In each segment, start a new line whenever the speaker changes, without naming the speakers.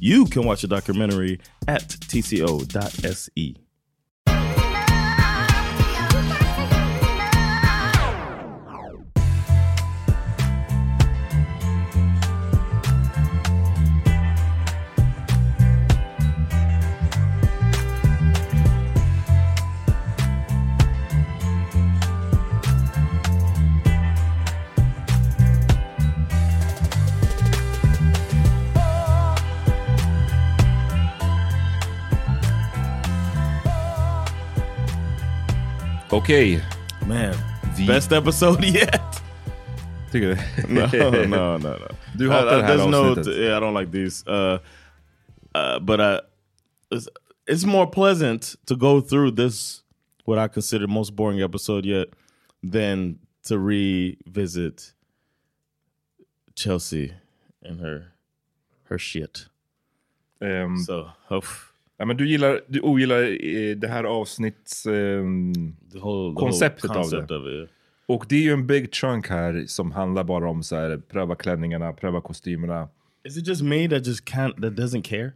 You can watch the documentary at tco.se.
Okej,
Man,
Vi-
best episode yet.
tycker du?
no, no, no, no. Uh,
Du hatar det här
there's no-
avsnittet.
yeah, I don't like these. Uh, uh, but I, it's, it's more pleasant to go through this, what I consider most boring episode yet, than to revisit Chelsea and her her shit.
Ehm,
So, oof,
ja, men du, gillar, du ogillar eh, det här avsnitts... ehm,
the whole, the
Konceptet av
whole concept
det.
of it.
och det är ju en big chunk här som handlar bara om så här, pröva klänningarna, pröva kostymerna.
Is it just me that just can't, that doesn't care?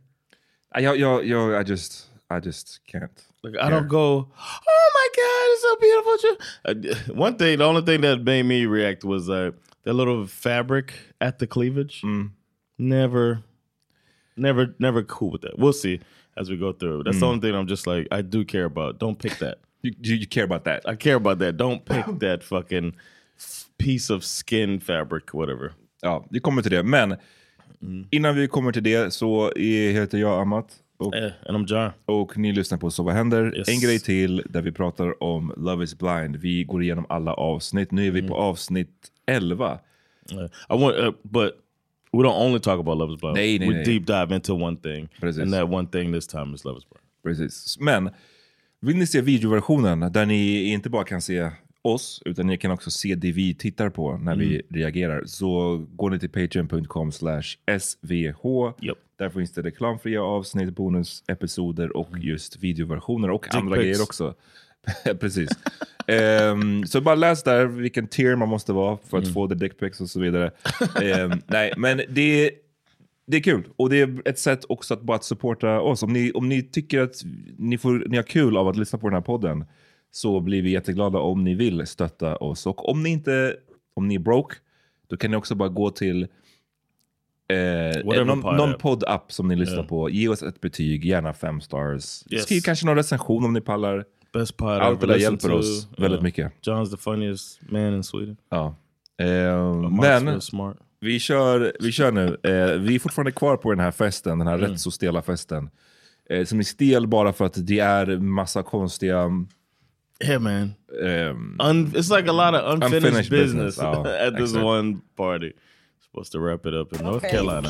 Ah, Jag, jag, jag, I just, I just can't.
Like I don't go, oh my god, it's so beautiful. Ju-" Uh, one thing, the only thing that made me react was uh, that little fabric at the cleavage.
Mm.
Never, never, never cool with that. We'll see as we go through. That's the only thing I'm just like, I do care about. Don't pick
Mm.
that.
You, you, you care about that?
I care about that. Don't pick that fucking f- piece of skin fabric, whatever. Mm.
Ja, vi kommer till det. Men innan vi kommer till det så är, heter jag Amat. Och
Eh, and I'm John.
Och ni lyssnar på Så vad händer?
Yes.
En grej till där vi pratar om Love is blind. Vi går igenom alla avsnitt. Nu är vi på avsnitt 11.
Uh, Mm. I want, uh, but we don't only talk about Love is Blind.
Nej, nej,
we
nej.
deep dive into one thing,
Precis.
and that one thing this time is Love is Blind.
Precis. Men Vill ni se videoversionen där ni inte bara kan se oss, utan ni kan också se det vi tittar på när vi reagerar, så går ni till patreon.com slash svh. Där finns det reklamfria avsnitt, bonusepisoder och just videoversioner och andra
pics.
grejer också. Precis. Ehm, så bara läs där vilken tier man måste vara för att få the dickpics och så vidare. Ehm, nej, men det, det är kul. Och det är ett sätt också att bara att supporta oss. Om ni, om ni tycker att ni, får, ni har kul av att lyssna på den här podden så blir vi jätteglada om ni vill stötta oss. Och om ni inte om ni är broke, då kan ni också bara gå till Eh,
Whatever
någon,
pod
någon
app.
poddapp som ni lyssnar på. Ge oss ett betyg, gärna fem stars.
Yes.
Skriv kanske någon recension om ni pallar.
Best pod
Allt det där
I've listened
hjälper
to.
oss väldigt
Yeah.
mycket.
John's the funniest man in Sweden.
Ja.
But
Eh,
Mark's
men
real smart.
vi kör, vi kör nu. Eh, vi är fortfarande kvar på den här festen, den här
Mm.
rätt så stela festen. Eh, som är stel bara för att det är massa konstiga...
Yeah, man.
ehm,
Un it's like a lot of unfinished,
Unfinished
business,
business. Oh,
at this
excellent.
one party. Supposed to wrap it up in North Carolina.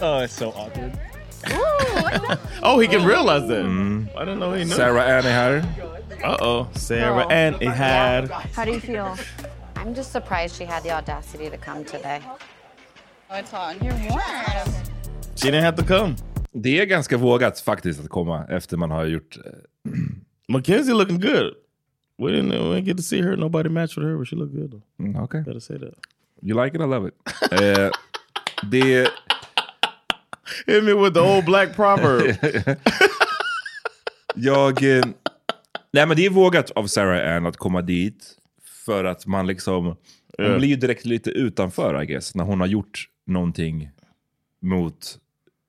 Oh, it's so awkward. oh, he can realize that. I didn't know he knew.
Mm-hmm. Sarah Ann är här.
Uh oh, Sarah and it had.
How do you feel?
I'm just surprised she had the audacity to come today.
It's hot in here. Warm.
She didn't have to come.
Det är ganska vågat faktiskt att komma efter man har gjort... eh,
Mackenzie looking good. We didn't, we didn't get to see her. Nobody matched with her, but she looked good. Though.
Mm, Okej.
Gotta say that.
You like it, I love it. Eh, det...
Hit me with the old black proverb.
Jag... Eh, nej men det är vågat av Sarah Ann att komma dit. För att man liksom... Hon
Ja.
blir ju direkt lite utanför I guess. När hon har gjort någonting mot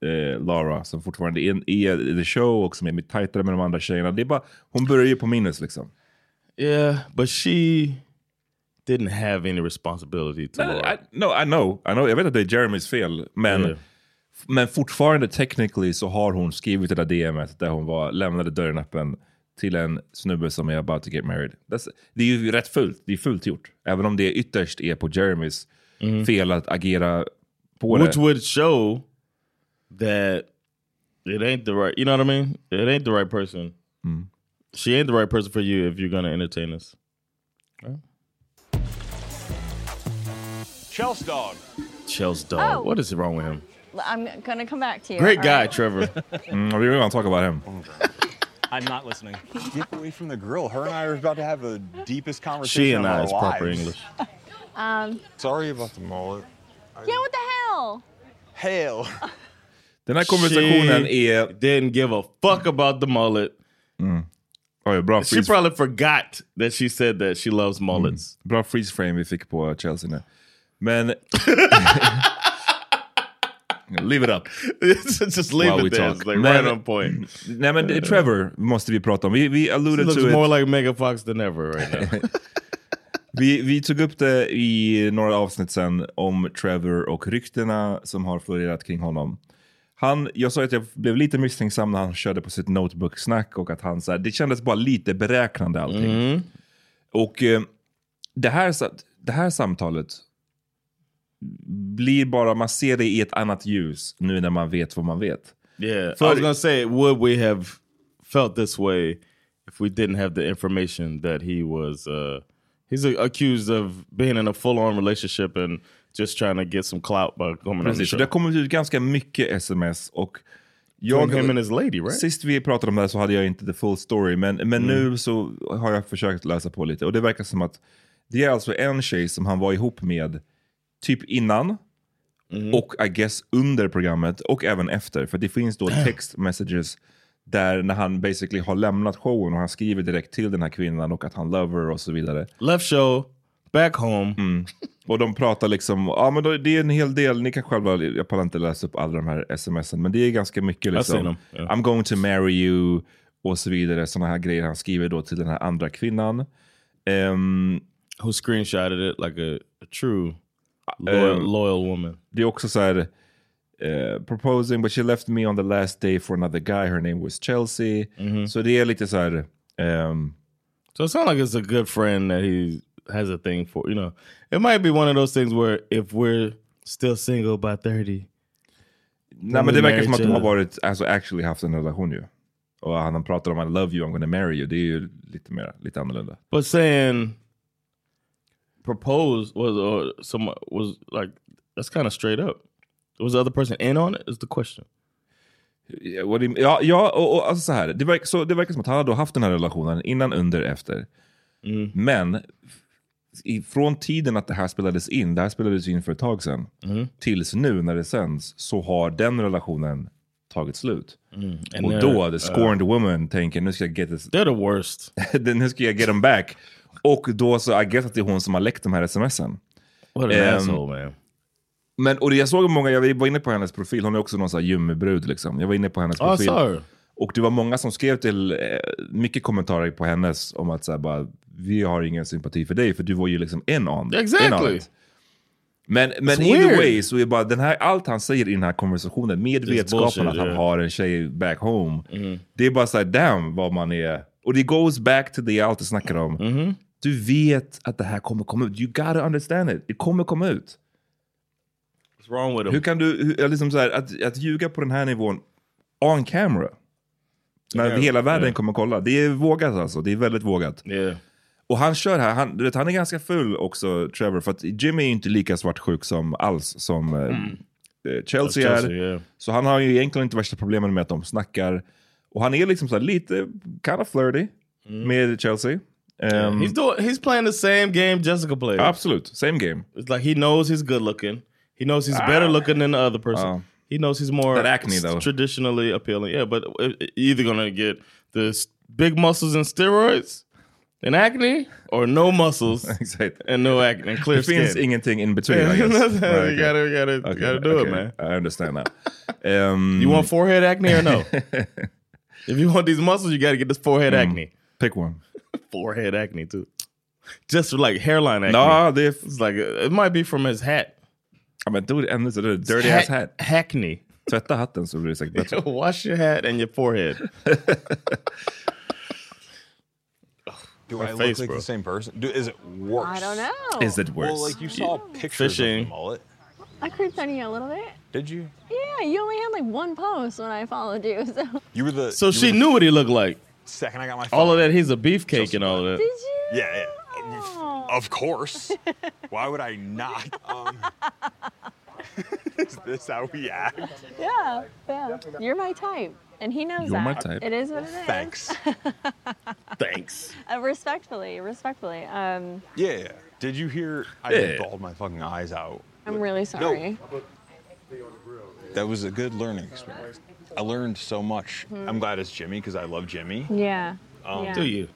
eh, Lara. Som fortfarande är, är i the show och som är mycket tajtare med de andra tjejerna. Det är bara, hon börjar ju på minus liksom.
yeah, but she didn't have any responsibility to Laura.
I, no, I know, I know. Jag vet att det är Jeremys fel. Men,
Yeah.
men fortfarande technically så har hon skrivit det där DMet där hon var, lämnade dörren öppen till en snubbe som är about to get married. That's, det är ju rätt fult. Det är fult gjort. Även om det ytterst är på Jeremys fel att agera på
Mm. Which
det.
would show that it ain't the right, you know what I mean? It ain't the right person.
Mm.
She ain't the right person for you if you're gonna entertain us.
Chelsea dog.
Chels dog.
Oh.
What is wrong with him?
I'm gonna come back to you.
Great
all
guy,
right?
Trevor.
Mm, we want to talk about him.
I'm not listening. Get away from the grill. Her and I are about to have the deepest conversation.
she and
of
I
our
is proper
lives.
English.
Sorry about the mullet.
Um, Yeah, what the hell?
Hell.
Den här konversationen
She
är...
didn't give a fuck about the mullet.
Oj, Oh bra,
She
freeze,
probably forgot that she said that she loves mullets.
Mm. bra freeze frame vi fick på Chelsea nu. Men... Leave it up.
Just leave
While we
it there.
talk.
It's like
Man-
right on point.
Nej men det- Trevor måste vi prata om. Vi, vi
She
alluded to
looks
it.
more like Mega Fox than ever right now.
Vi, vi tog upp det i några avsnitt sen om Trevor och ryktena som har florerat kring honom. Han, jag sa att jag blev lite misstänksam när han körde på sitt notebook-snack och att han så här, det kändes bara lite beräknande allting.
Mm.
Och eh, det, här, sa- det här samtalet blir bara, man ser det i ett annat ljus nu när man vet vad man vet.
Yeah, I
For-
was gonna say, would we have felt this way if we didn't have the information that he was? Uh, he's uh, accused of being in a full-on relationship and just trying to get some clout by coming on the
Precis, så
show.
det har kommit ut ganska mycket sms och jag...
Between him and his lady, right? Mm.
Sist vi pratade om det här så hade jag inte the full story, men, men nu så har jag försökt läsa på lite. Och det verkar som att det är alltså en tjej som han var ihop med typ innan
Mm.
och I guess under programmet och även efter. För det finns då text messages där när han basically har lämnat showen och han skriver direkt till den här kvinnan och att han lover och så vidare.
Left show, back home.
Mm. Och de pratar liksom, ja men då, det är en hel del, ni kan själva, jag pallar inte läsa upp alla de här smsen, men det är ganska mycket
seen
liksom,
them, ja.
I'm going to marry you och så vidare, sådana här grejer han skriver då till den här andra kvinnan. Ehm,
Who screenshotted it like a, a true loyal,
um,
loyal woman?
det är också så här, eh, proposing but she left me on the last day for another guy, her name was Chelsea.
Mm-hmm.
Så det är lite så här, ehm,
So it sounds like it's a good friend that he has a thing for. You know, it might be one of those things where if we're still single by thirty.
nej men det verkar som att de har
marriage,
varit, alltså actually haft en relation ju. Och han han pratar om I love you, I'm gonna marry you. Det är ju lite, mer, lite annorlunda.
But saying propose was or someone was like that's kind of straight up. Was the other person in on it? Is the question?
Ja, what do you- Ja, ja och, och alltså så här. Det, verk, så, det verkar som att han hade då haft den här relationen innan, under, efter. Men i, från tiden att det här spelades in, det här spelades ju in för ett tag sedan, tills nu när det sänds, så har den relationen tagit slut.
Mm, And
Och
they're- uh,
då, the scorned woman tänker nu ska jag get this,
eh, They're the worst.
nu ska jag get him back. Och då så, I guess att det är hon som har läckt de här smsen.
What an
Um,
asshole, man.
Men, och jag såg många, jag var inne på hennes profil, hon är också någon sån här gymmebrud liksom. Jag var inne på hennes
Oh, I
profil.
saw her.
Och det var många som skrev till, eh, mycket kommentarer på hennes om att så här, bara, vi har ingen sympati för dig för du var ju liksom en on. in on
Exactly.
it. Men, men
It's
either
weird.
way, så är bara den här, allt han säger i den här konversationen med vetskapen
bullshit, Mm.
att han
yeah.
har en tjej back home. Det är bara såhär, damn vad man är. Och det goes back till det jag alltid snackar om.
Mm-hmm.
Du vet att det här kommer komma ut. You gotta understand it. Det kommer komma ut.
What's wrong with
Hur
him?
kan du, hur, ja, liksom så här, att, att ljuga på den här nivån on camera? När
Ja,
hela världen
ja.
kommer kolla. Det är vågat alltså, det är väldigt vågat.
Yeah.
Och han kör här, han, du vet, han är ganska full också Trevor. För att Jimmy är ju inte lika svartsjuk som alls som eh, eh, Chelsea är.
Mm. Alltså, Chelsea, yeah.
Så han har ju egentligen inte värsta problemen med att de snackar. Och han är liksom så här lite, kind of flirty med Chelsea. Ehm,
Mm. He's doing. He's playing the same game Jessica played.
absolut, same game.
It's like he knows he's good looking. He knows he's better looking than the other person.
Oh.
he knows he's more
That acne, though.
traditionally appealing. Yeah, but uh, you're either gonna get the s- big muscles and steroids and acne, or no muscles
Exakt.
and no acne and clear
Det finns
skin.
ingenting in between I guess.
you
Right,
gotta,
okay.
you gotta, you
Okay,
gotta do
okay.
it, man.
I understand that. Um,
You want forehead acne or no? if you want these muscles, you gotta get this forehead acne.
Mm. pick one?
Forehead acne too. Just like hairline acne.
Nah, det är... f-
It's like uh, it might be from his hat.
I mean, dude, and this is a dirty
Ha-
ass hat.
Hackney. Oh,
Tvätta hatten så blir det säkert bättre.
Wash your hat and your forehead.
Do
My
I
face,
look like
bro.
the same person? Do, is it worse?
I don't know.
Is it worse?
Well, like you saw pictures
Fishing.
of the mullet.
I creeped on you a little bit.
Did you?
Yeah, you only had like one post when I followed you. So did
You were the.
So
you
she
were the
knew what he looked like.
Second, I got my. Phone.
All of that, he's a beefcake and all of that.
you?
Yeah.
Oh.
yeah. Of course. Why would I not? Um, is this how we act?
Yeah, yeah. You're my type, and he knows
You're
that.
my type.
It is what it is.
Thanks.
Thanks.
Uh, respectfully, respectfully. Um,
Yeah. yeah. Did you hear? I
Yeah.
yeah. bawled my fucking eyes out.
I'm really sorry.
That was a good learning experience. I learned so much. I'm glad it's Jimmy because I love Jimmy. Um,
Yeah. yeah.
Do you?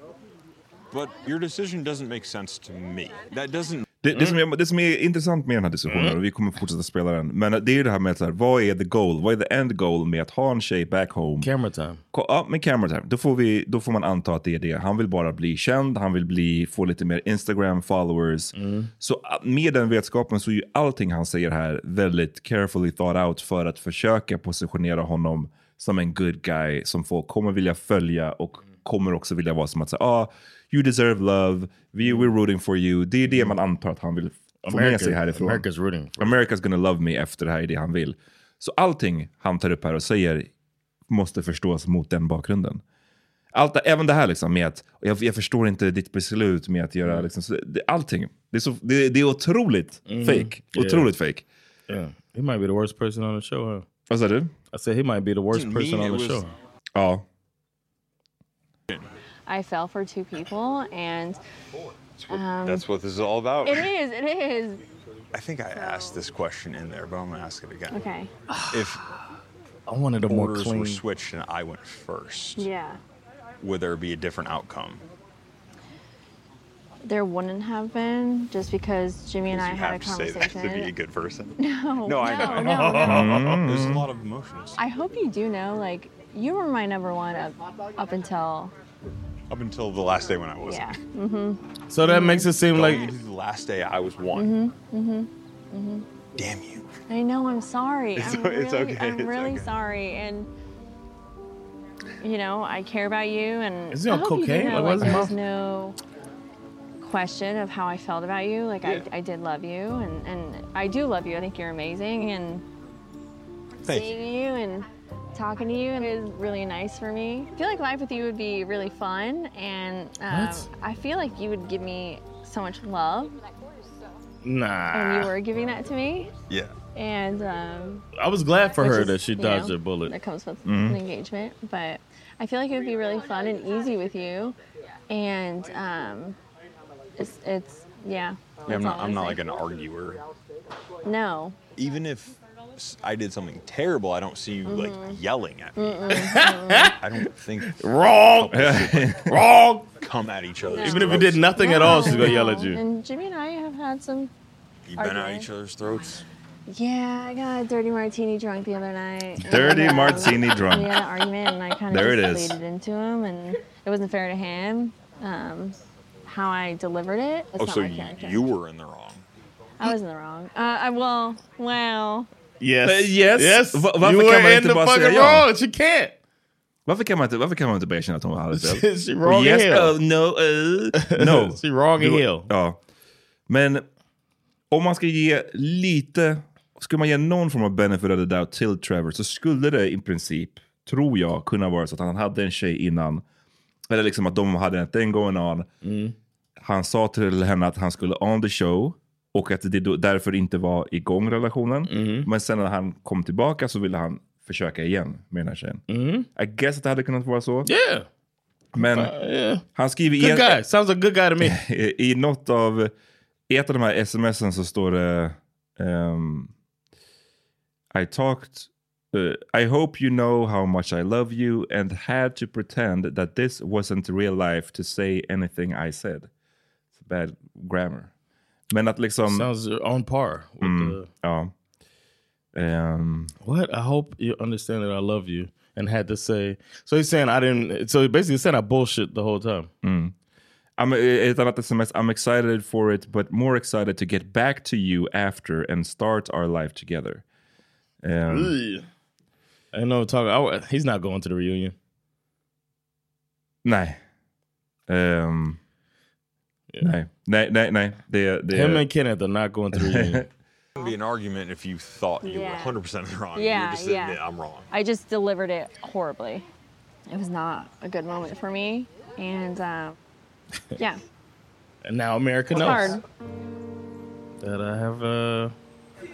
But your decision doesn't make sense to me. That doesn't
Det,
Mm.
det, som är, det som är intressant med den här diskussionen, och vi kommer fortsätta spela den, men det är ju det här med att så här, vad är the goal? Vad är the end goal med att ha en tjej back home?
Camera time.
Ko- Ja, med camera time. Då får, vi, då får man anta att det är det. Han vill bara bli känd, han vill bli, få lite mer Instagram followers.
Mm.
Så ah, med den vetskapen så är ju allting han säger här väldigt carefully thought out för att försöka positionera honom som en good guy som folk kommer vilja följa och
Mm.
kommer också vilja vara som att säga ah, you deserve love, we, we're rooting for you. Det är det man antar att han vill få med sig härifrån.
America's rooting.
America's gonna love me efter det här är det han vill. Så allting han tar upp här och säger måste förstås mot den bakgrunden. Allt, även det här liksom med att jag, jag förstår inte ditt beslut med att göra liksom, så det, allting. Det är, så, det, det är otroligt
Mm.
fake. Otroligt fake.
Mm-hmm. Yeah. He might be the worst person on the show, huh?
Vad sa du?
I said he might be the worst
Didn't
person
mean
on
it
the
was-
show.
Ja.
I fell for two people, and um,
that's what this is all about.
it is, it is.
I think I asked this question in there, but I'm gonna ask it again.
Okay.
If
I wanted a more
orders were
clean.
switched and I went first,
Yeah.
would there be a different outcome?
There wouldn't have been just because Jimmy and I
you
had a
have to say that
conversation.
to be a good person. No, I know. I know.
no, no, no.
Mm-hmm.
There's a lot of emotions
I hope you do know, like, you were my number one up, up until,
up until the last day when I wasn't.
yeah. Mm-hmm.
So that makes it seem like
Going into the last day I was one.
Mm-hmm.
Damn you.
I know. I'm sorry.
It's
I'm
o-
really,
it's okay,
I'm
it's
really
okay.
sorry, and you know, I care about you. And
Is he
I
on
hope you do
cocaine?
Know,
Like,
like,
what is his
there was
mouth-
no question of how I felt about you. Like, I, I did love you, and, and I do love you. I think you're amazing, and
Thank you.
seeing you and Talking to you is really nice for me. I feel like life with you would be really fun, and um,
What?
I feel like you would give me so much love, and Oh,
Ah.
you
Nah.
were giving that to me.
Yeah.
And um,
I was glad for
which
her
is,
that she
you
dodged
know,
a bullet. Mm-hmm.
That comes with an engagement, but I feel like it would be really fun and easy with you, and um, it's it's yeah.
I'm
that's
not,
all I
I'm not
say.
like an arguer.
No,
Even if s- I did something terrible, I don't see you
Mm-hmm.
like yelling at me. I don't think
Wrong. Wrong.
come at each other.
Even if you did nothing at all, she's gonna yell at you.
And Jimmy and I have had some.
You've been at
arguing.
each other's throats.
Yeah, I got a dirty martini drunk the other night. and,
Dirty
um,
martini
We
drunk.
had an argument, and I kind of
There it
just
is.
leaded into him, and it wasn't fair to him. Um, how I delivered it. It's
Oh,
not
so
my
you,
character.
you were in the wrong.
I was in the wrong. Uh, I well, well. Uh,
Yes.
Eh, yes.
Yes.
Va- varför
you
kan man
were in
inte
the
bara
fucking
säga ja?
wrong. She can't.
Varför kan man inte, varför kan man inte bara erkänna att hon hade fel?
She wrong
yes,
as hell.
oh, no, eh, no.
She wrong as
Du-
hell.
Ja. Men om man ska ge lite, skulle man ge någon form av benefit of the doubt till Trevor så skulle det i princip, tror jag, kunna vara så att han hade en tjej innan. Eller liksom att de hade en thing going on.
Mm.
Han sa till henne att han skulle on the show och att det då därför inte var igång relationen.
Mm.
Men sen när han kom tillbaka så ville han försöka igen med den här tjejen. I guess att det hade kunnat vara så.
Mm. Yeah. Uh,
Men
Yeah.
han skriver i,
Good
en,
guy. Sounds like a good guy to me.
i något av, i ett av de här smsen så står det ehm, I talked, eh, I hope you know how much I love you and had to pretend that this wasn't real life to say anything I said. It's bad grammar. Men att liksom,
Sounds on par with
Mm.
the
ja. Ehm,
What? I hope you understand that I love you and had to say. So he's saying I didn't. So he basically said I bullshit the whole time.
mm. I'm, eh, ett annat sms, I'm excited for it but more excited to get back to you after and start our life together. Ehm,
I know talking. I, he's not going to the reunion.
Nej. Ehm, Nej, nej, nej. nej. Det, det,
Him and Kenneth are not going to the reunion.
It would be an argument if you thought you
Yeah.
were 100% in the wrong.
Yeah,
you just
yeah.
admit I'm wrong.
I just delivered it horribly. It was not a good moment for me, and um, yeah,
and now America
it's
knows
hard.
that I have uh,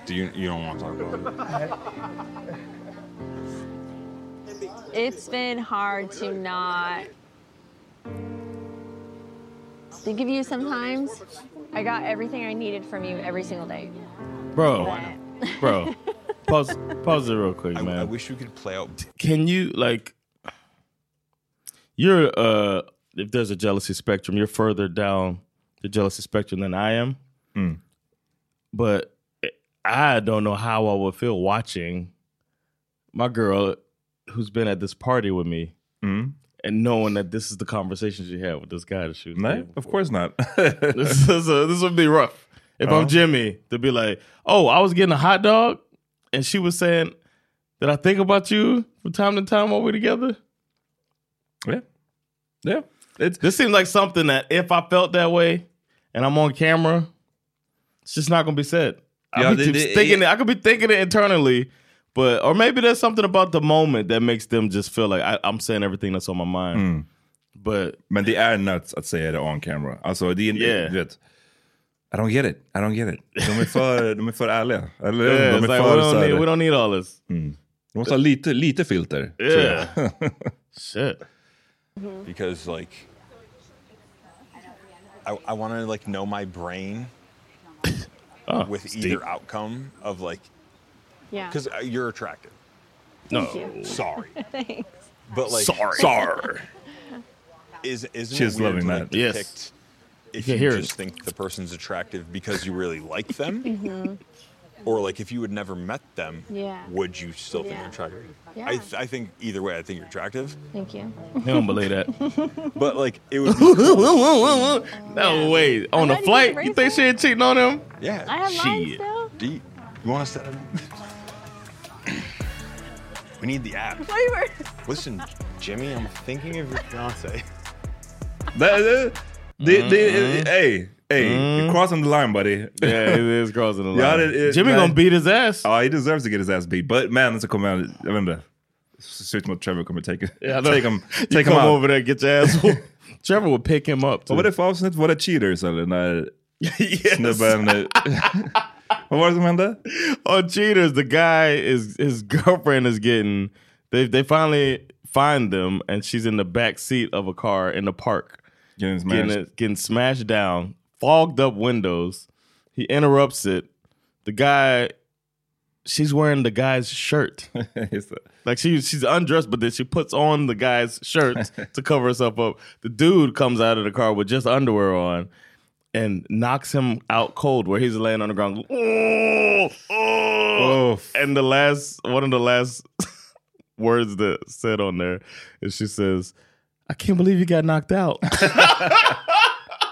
Do you you don't want to talk about it?
It's been hard to not think of you sometimes. I got everything I needed from you every single day.
bro, bro. Pause, pause it real quick,
I,
man.
I wish we could play out.
can you like you're uh if there's a jealousy spectrum you're further down the jealousy spectrum than i am
Hmm.
but i don't know how i would feel watching my girl who's been at this party with me
Hmm.
Mm.
and knowing that this is the conversation she had with this guy that she was
Nej,
dating
of course not.
this is a, this would be rough if
Uh-huh.
I'm Jimmy to be like, oh, I was getting a hot dog, and she was saying that I think about you from time to time while we're together.
yeah. Yeah. It's,
This seems like something that if I felt that way and I'm on camera, it's just not gonna be said. I
Yeah,
could
they-
be
they-
thinking it, I could be thinking it internally, but or maybe there's something about the moment that makes them just feel like I, I'm saying everything that's on my mind.
Hmm.
But
men det är nuts att säga det on camera. Alltså, det är,
Yeah.
du vet. I don't get it. I don't get it. De är för, de är för ärliga. Eller,
yeah,
de
it's
är
like, we,
för så här-
don't
Mm.
need, we don't need all this.
De måste ha lite, lite filter. tror jag.
Yeah. Shit.
Mm-hmm. because like I, I want to like know my brain
Oh,
with
it's
either
deep.
outcome of like
Yeah.
because you're attractive.
No.
Sorry, but like
Sorry.
is isn't
She's
it weird
loving
to,
that.
like,
Yes.
depict If
can
you,
hear it.
just think the person's attractive because you really like them, or like if you had never met them,
Yeah.
would you still think
Yeah.
they're attractive? I,
Yeah.
th- I think either way, I think you're attractive,
Thank you.
He don't believe that.
but like it would. Be,
no way. On
glad
a
you
flight,
got
you think she ain't cheating on him?
yeah,
I have mine
Shit.
still.
Do you, you want to set up? we need the app.
What are you-
Listen, Jimmy, I'm thinking of your fiance.
Det, det, det, det, hey, hey. You're crossing the line buddy.
Mm-hmm. Yeah, it is crossing the line.
Yeah, it is,
Jimmy
man. Oh,
gonna beat his ass.
Ja, he deserves to get his ass beat. But man, så kommer han, jag vet inte. ser ut som att Trevor kommer take,
Yeah, I know.
take him,
You
take him
come
out.
over there, get your ass whooped. Trevor would pick him up.
Vad var
too.
det för avsnitt? Var det Cheaters eller när snubben... eh, Vad var det som hände?
on cheaters the guy is his girlfriend is getting they they finally find them and she's in the back seat of a car in the park
Getting
getting
smashed.
it, getting smashed down fogged up windows he interrupts it the guy she's wearing the guy's shirt
Just det.
like she she's undressed but then she puts on the guy's shirt to cover herself up the dude comes out of the car with just underwear on and knocks him out cold where he's laying on the ground "Oh, oh."
Oh, f-
and the last one of the last words that said on there is she says, "I can't believe you got knocked out." no,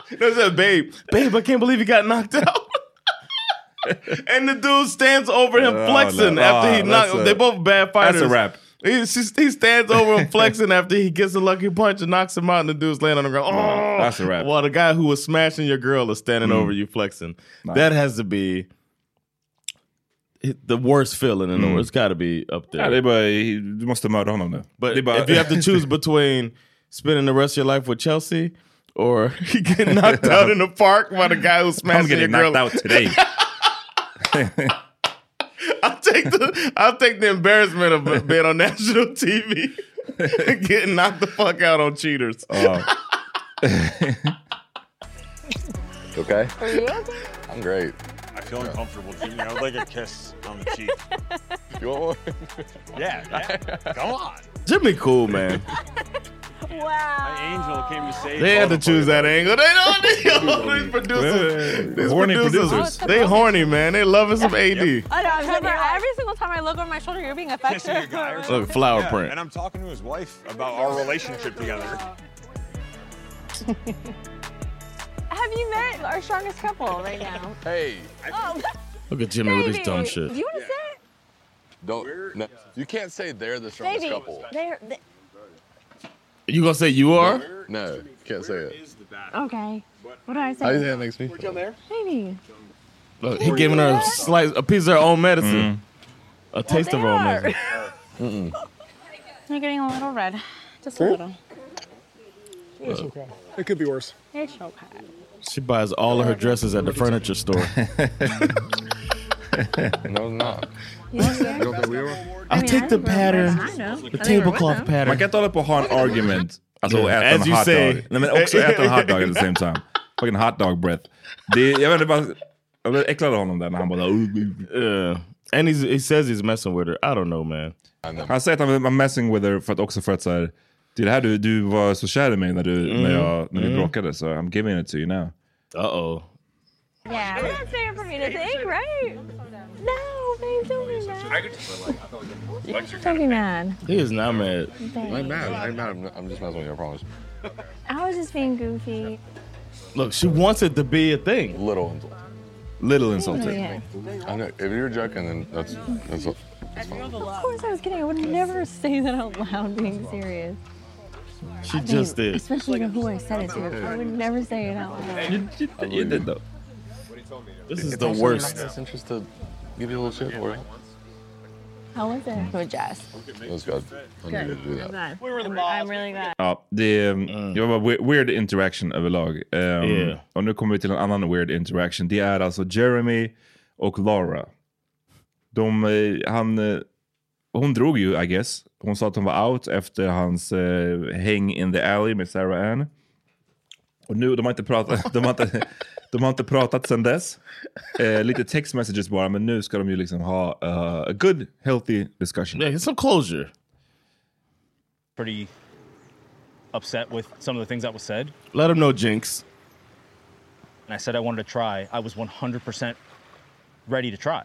she says, "Babe, babe, I can't believe you got knocked out." and the dude stands over him
Oh,
flexing
no.
after he
Oh,
knocked.
that's a-
they both bad
that's
fighters.
a wrap.
He, she, he stands over him flexing after he gets a lucky punch and knocks him out, and the dude's laying on the ground. Oh,
that's a wrap.
While the guy who was smashing your girl is
Mm.
standing over you flexing. That has to be it- the worst feeling
Mm.
in the world. It's got to be up there.
Ja, det är bara, du måste mörda honom nu.
but
det är bara,
if you have to choose between spending the rest of your life with Chelsea or getting knocked out in the park by the guy who
I'm
smashing your
getting knocked
girl,
out today.
I'll take the I'll take the embarrassment of being on national TV and getting knocked the fuck out on cheaters.
Ja.
Okay.
Are you okay?
I'm great.
I feel uncomfortable, Jimmy. I would like a kiss on the cheek.
You want one?
Yeah, yeah. Come on.
Jimmy cool man.
Wow.
My angel came to save
They had to
Baltimore.
choose that angle. They don't. They all these producers. These
Horny
producers,
producers.
They horny man. They loving some AD.
I know. I'm Trevor, every single time I look over my shoulder, you're being
Kissing a
affectionate.
guy or
Look,
something.
flower
Yeah,
print.
And I'm talking to his wife about our relationship together.
Have you met our strongest couple right now?
Hey,
Oh,
Look at Jimmy with his dumb
baby.
shit.
Do you want to sit?
don't. No, you can't say they're the strongest
Baby,
couple.
they're, they-
You gonna say you are?
No, can't say it.
okay. What do
How do
I
you
say?
think that makes me? feel?
Baby.
Look, he giving her a slice, a piece of her own medicine,
Mm.
a taste of her own medicine.
You're getting a little red. Just a little.
It could be worse.
It's okay.
She buys all of her dresses at the furniture store.
No,
Oh,
it's not. You don't think we are?
I'll take the pattern,
I know.
the tablecloth
Man kan
pattern.
inte hålla på och ha en argument. Alltså och äta
As
en
you
hot
say.
dog. Nej men också äta en hot dog at the same time. Fucking hot dog breath. Det, jag vet inte, bara, jag blev äcklad av honom där när han bara...
Uh, and he's, he says he's messing with her. I don't know, man.
Han säger att han var messing with her för att också för att så här, det är det här du, du var så kär i mig när, du, när, jag,
Mm.
när vi bråkade så I'm giving it to you now.
Uh oh.
Yeah. I'm not saying for me to think, right? No, babe, don't be mad. Don't be mad.
He is not mad.
I'm mad. I'm mad. I'm- I'm just messing with you. I promise.
I was just being goofy.
Look, she wants it to be a thing.
Little insult.
Little insulted.
Yeah.
I know. If you're joking, then that's that's. what-
Of course I was kidding. I would never say that out loud being serious.
She just did.
Especially to who I said it to. I would never say it out loud.
You did though.
This is the worst.
It's interest to give you a little shit for it.
How was it? With Jess.
It was good. I needed to do that.
I'm really glad.
Ja, det, det var bara we- weird interaction överlag. Um,
Yeah.
Och nu kommer vi till en annan weird interaction. Det är alltså Jeremy och Laura. De, eh, han, eh, hon drog ju, I guess. Hon sa att hon var out efter hans eh, häng in the alley med Sarah Ann. Och nu, de har inte pratat, de har inte, de har inte pratat sen dess. Eh, lite text messages bara, men nu ska de ju liksom ha eh, a good, healthy discussion.
Yeah, get some closure.
Pretty upset with some of the things that was said.
Let him know, Jinx.
And I said I wanted to try. I was 100% ready to try.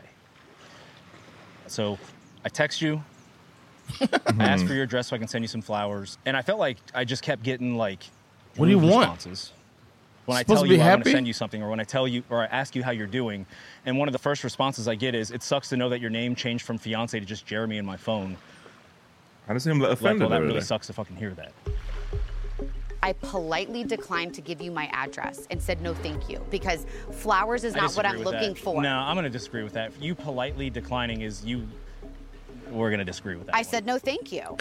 So I text you. I asked
Hmm.
for your address so I can send you some flowers. And I felt like I just kept getting like
What do you
rude
want?
responses. When I
Supposed
tell
to be
you I want
happy?
to send you something, or when I tell you or I ask you how you're doing, and one of the first responses I get is, "It sucks to know that your name changed from fiance to just Jeremy in my phone."
Han är så himla
Like,
offended
well, that
över det
really
där.
sucks to fucking hear that.
I politely declined to give you my address and said no, thank you, because flowers is
I
not what
disagree
I'm
with
looking
that.
for.
No, I'm going to disagree with that. You politely declining is you we're gonna disagree with that.
I said, no, thank you.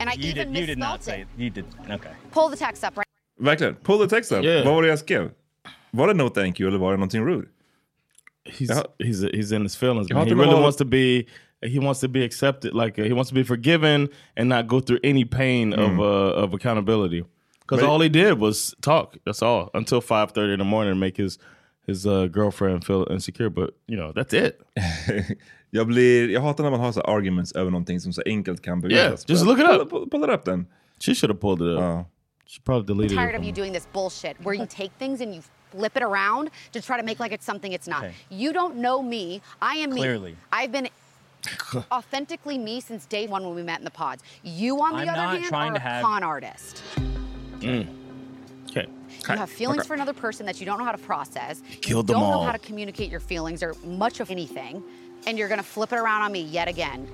And I
you
even
did. You did
misspelled
not say. You did. Okay.
Pull the text up right
Verkligen. Pull the text up. Vad var det jag skrev? Var det no thank you eller var det någonting rude?
He's he's he's in his feelings.
Jag har
man. He
inte
really
någon-
wants to be he wants to be accepted like uh, he wants to be forgiven and not go through any pain of uh, of accountability because
Mm. But-
all he did was talk that's all until 5:30 in the morning and make his his uh, girlfriend feel insecure but you know that's it
jag blir jag hatar när man har så här arguments över någonting som så enkelt kan bevisas.
Yeah, just look it up.
Pull, pull it up then.
She should have pulled it up. She probably
I'm
deleted
tired
it.
of you doing this bullshit where you take things and you flip it around to try to make like it's something it's not.
Okay.
You don't know me. I am me.
Clearly.
I've been authentically me since day one when we met in the pods. You, on the
I'm
other
not
hand,
trying
are
to
a
have-
con artist.
Mm. Okay.
You have feelings for another person that you don't know how to process. you
killed them
don't know
all.
how to communicate your feelings or much of anything, and you're gonna flip it around on me yet again.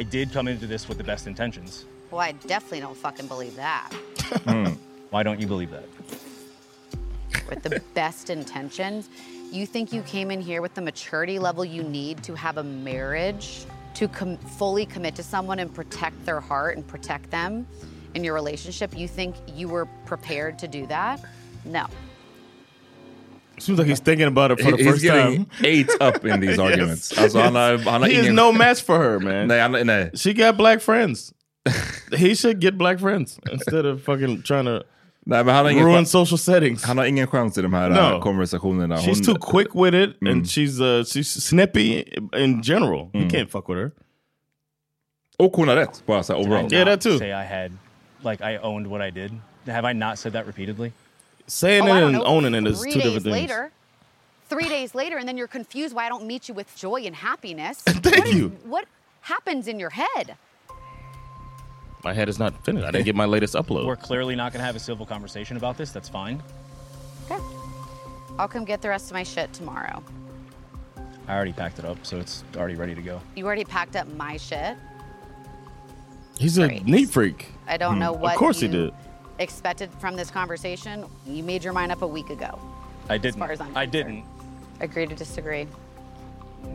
I did come into this with the best intentions. Hmm.
Well, I definitely don't fucking believe that.
Why don't you believe that?
with the best intentions. You think you came in here with the maturity level you need to have a marriage, to com- fully commit to someone and protect their heart and protect them in your relationship? You think you were prepared to do that? No.
Seems like he's thinking about it for the
He's
first
getting
time.
ate up in these arguments. Alltså, han har- han har
he is
ingen-
no match for her, man.
Nej, han, nej.
She got black friends. he should get black friends instead of fucking trying to
Nej, men han har ingen
ruin
chans-
social settings.
Han har ingen chans i de här
No.
eh, konversationerna.
She's too quick with it,
Mm.
and she's uh, she's snippy in general. You can't fuck with her.
Och hon har rätt, bara så här
Did I
overall.
not Say I had, like, I owned what I did. Have I not said that repeatedly?
Saying
Oh, I
it
don't
and
know,
owning it is
three
two
days
different things.
later, three days later, and then you're confused why I don't meet you with joy and happiness.
Thank you.
what happens in your head?
My head is not finished. I didn't get my latest upload.
We're clearly not going to have a civil conversation about this. That's fine.
I'll come get the rest of my shit tomorrow.
I already packed it up, so it's already ready to go.
You already packed up my shit.
He's a neat freak. Hmm.
I don't know what
Mm-hmm. Of course
you-
he did.
Expected from this conversation, you made your mind up a week ago.
I didn't.
far as I'm
I didn't.
Agree to disagree.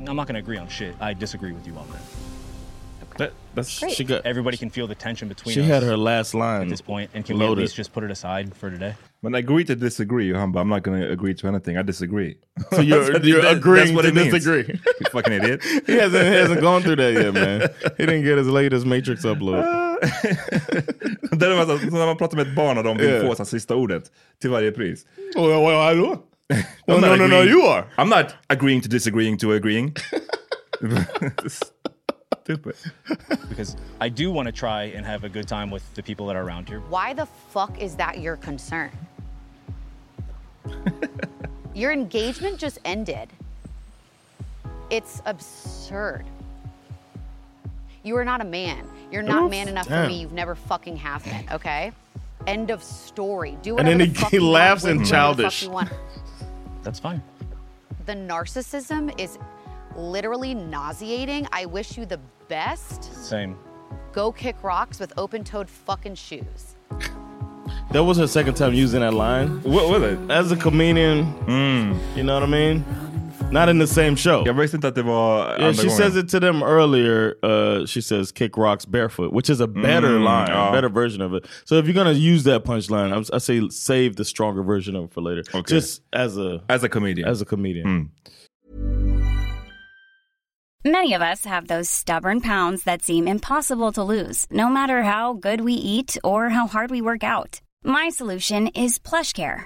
I'm not going to agree on shit. I disagree with you on that.
that's
Great. she
got.
Everybody can feel the tension between
She
us
had her last line
at this point, and can we
loaded.
at least just put it aside for today?
Men agree to disagree, han bara, I'm not gonna agree to anything, I disagree.
So you're-
That's-
you're
that's
agreeing
what
to
it means.
disagree.
You fucking idiot.
He hasn't, he hasn't gone through that yet, man. He didn't get his latest Matrix upload.
det är alltså, så när man pratar med ett barn och de vill
Yeah.
få så här, sista ordet till varje pris.
Well, well, I do.
I'm
no,
not
no, no,
agreeing-
you are.
I'm not agreeing to disagreeing to agreeing. Stupid.
Because I do want to try and have a good time with the people that are around here.
Why the fuck is that your concern? your engagement just ended. It's absurd. You are not a man. You're not
Oof.
man enough for
Damn.
me. You've never fucking have been, okay? End of story. Do
And
whatever
then
the
he-
fuck
he
you
laughs
want,
and
with whoever the fuck
childish.
you want.
That's fine.
The narcissism is literally nauseating. I wish you the best.
Same.
Go kick rocks with open-toed fucking shoes.
That was her second time using that line.
What was it? Mm.
As a comedian, you know what I mean? Not in the same show.
Jag visste inte att det var
Yeah,
andra
she
gången.
says it to them earlier. Uh, she says "kick rocks barefoot," which is a better
Mm,
line,
yeah.
a better version of it. So if you're gonna use that punchline, I'm- I say save the stronger version of it for later.
Okay.
Just as a
As a comedian.
as a comedian.
Many of us have those stubborn pounds that seem impossible to lose, no matter how good we eat or how hard we work out. My solution is PlushCare.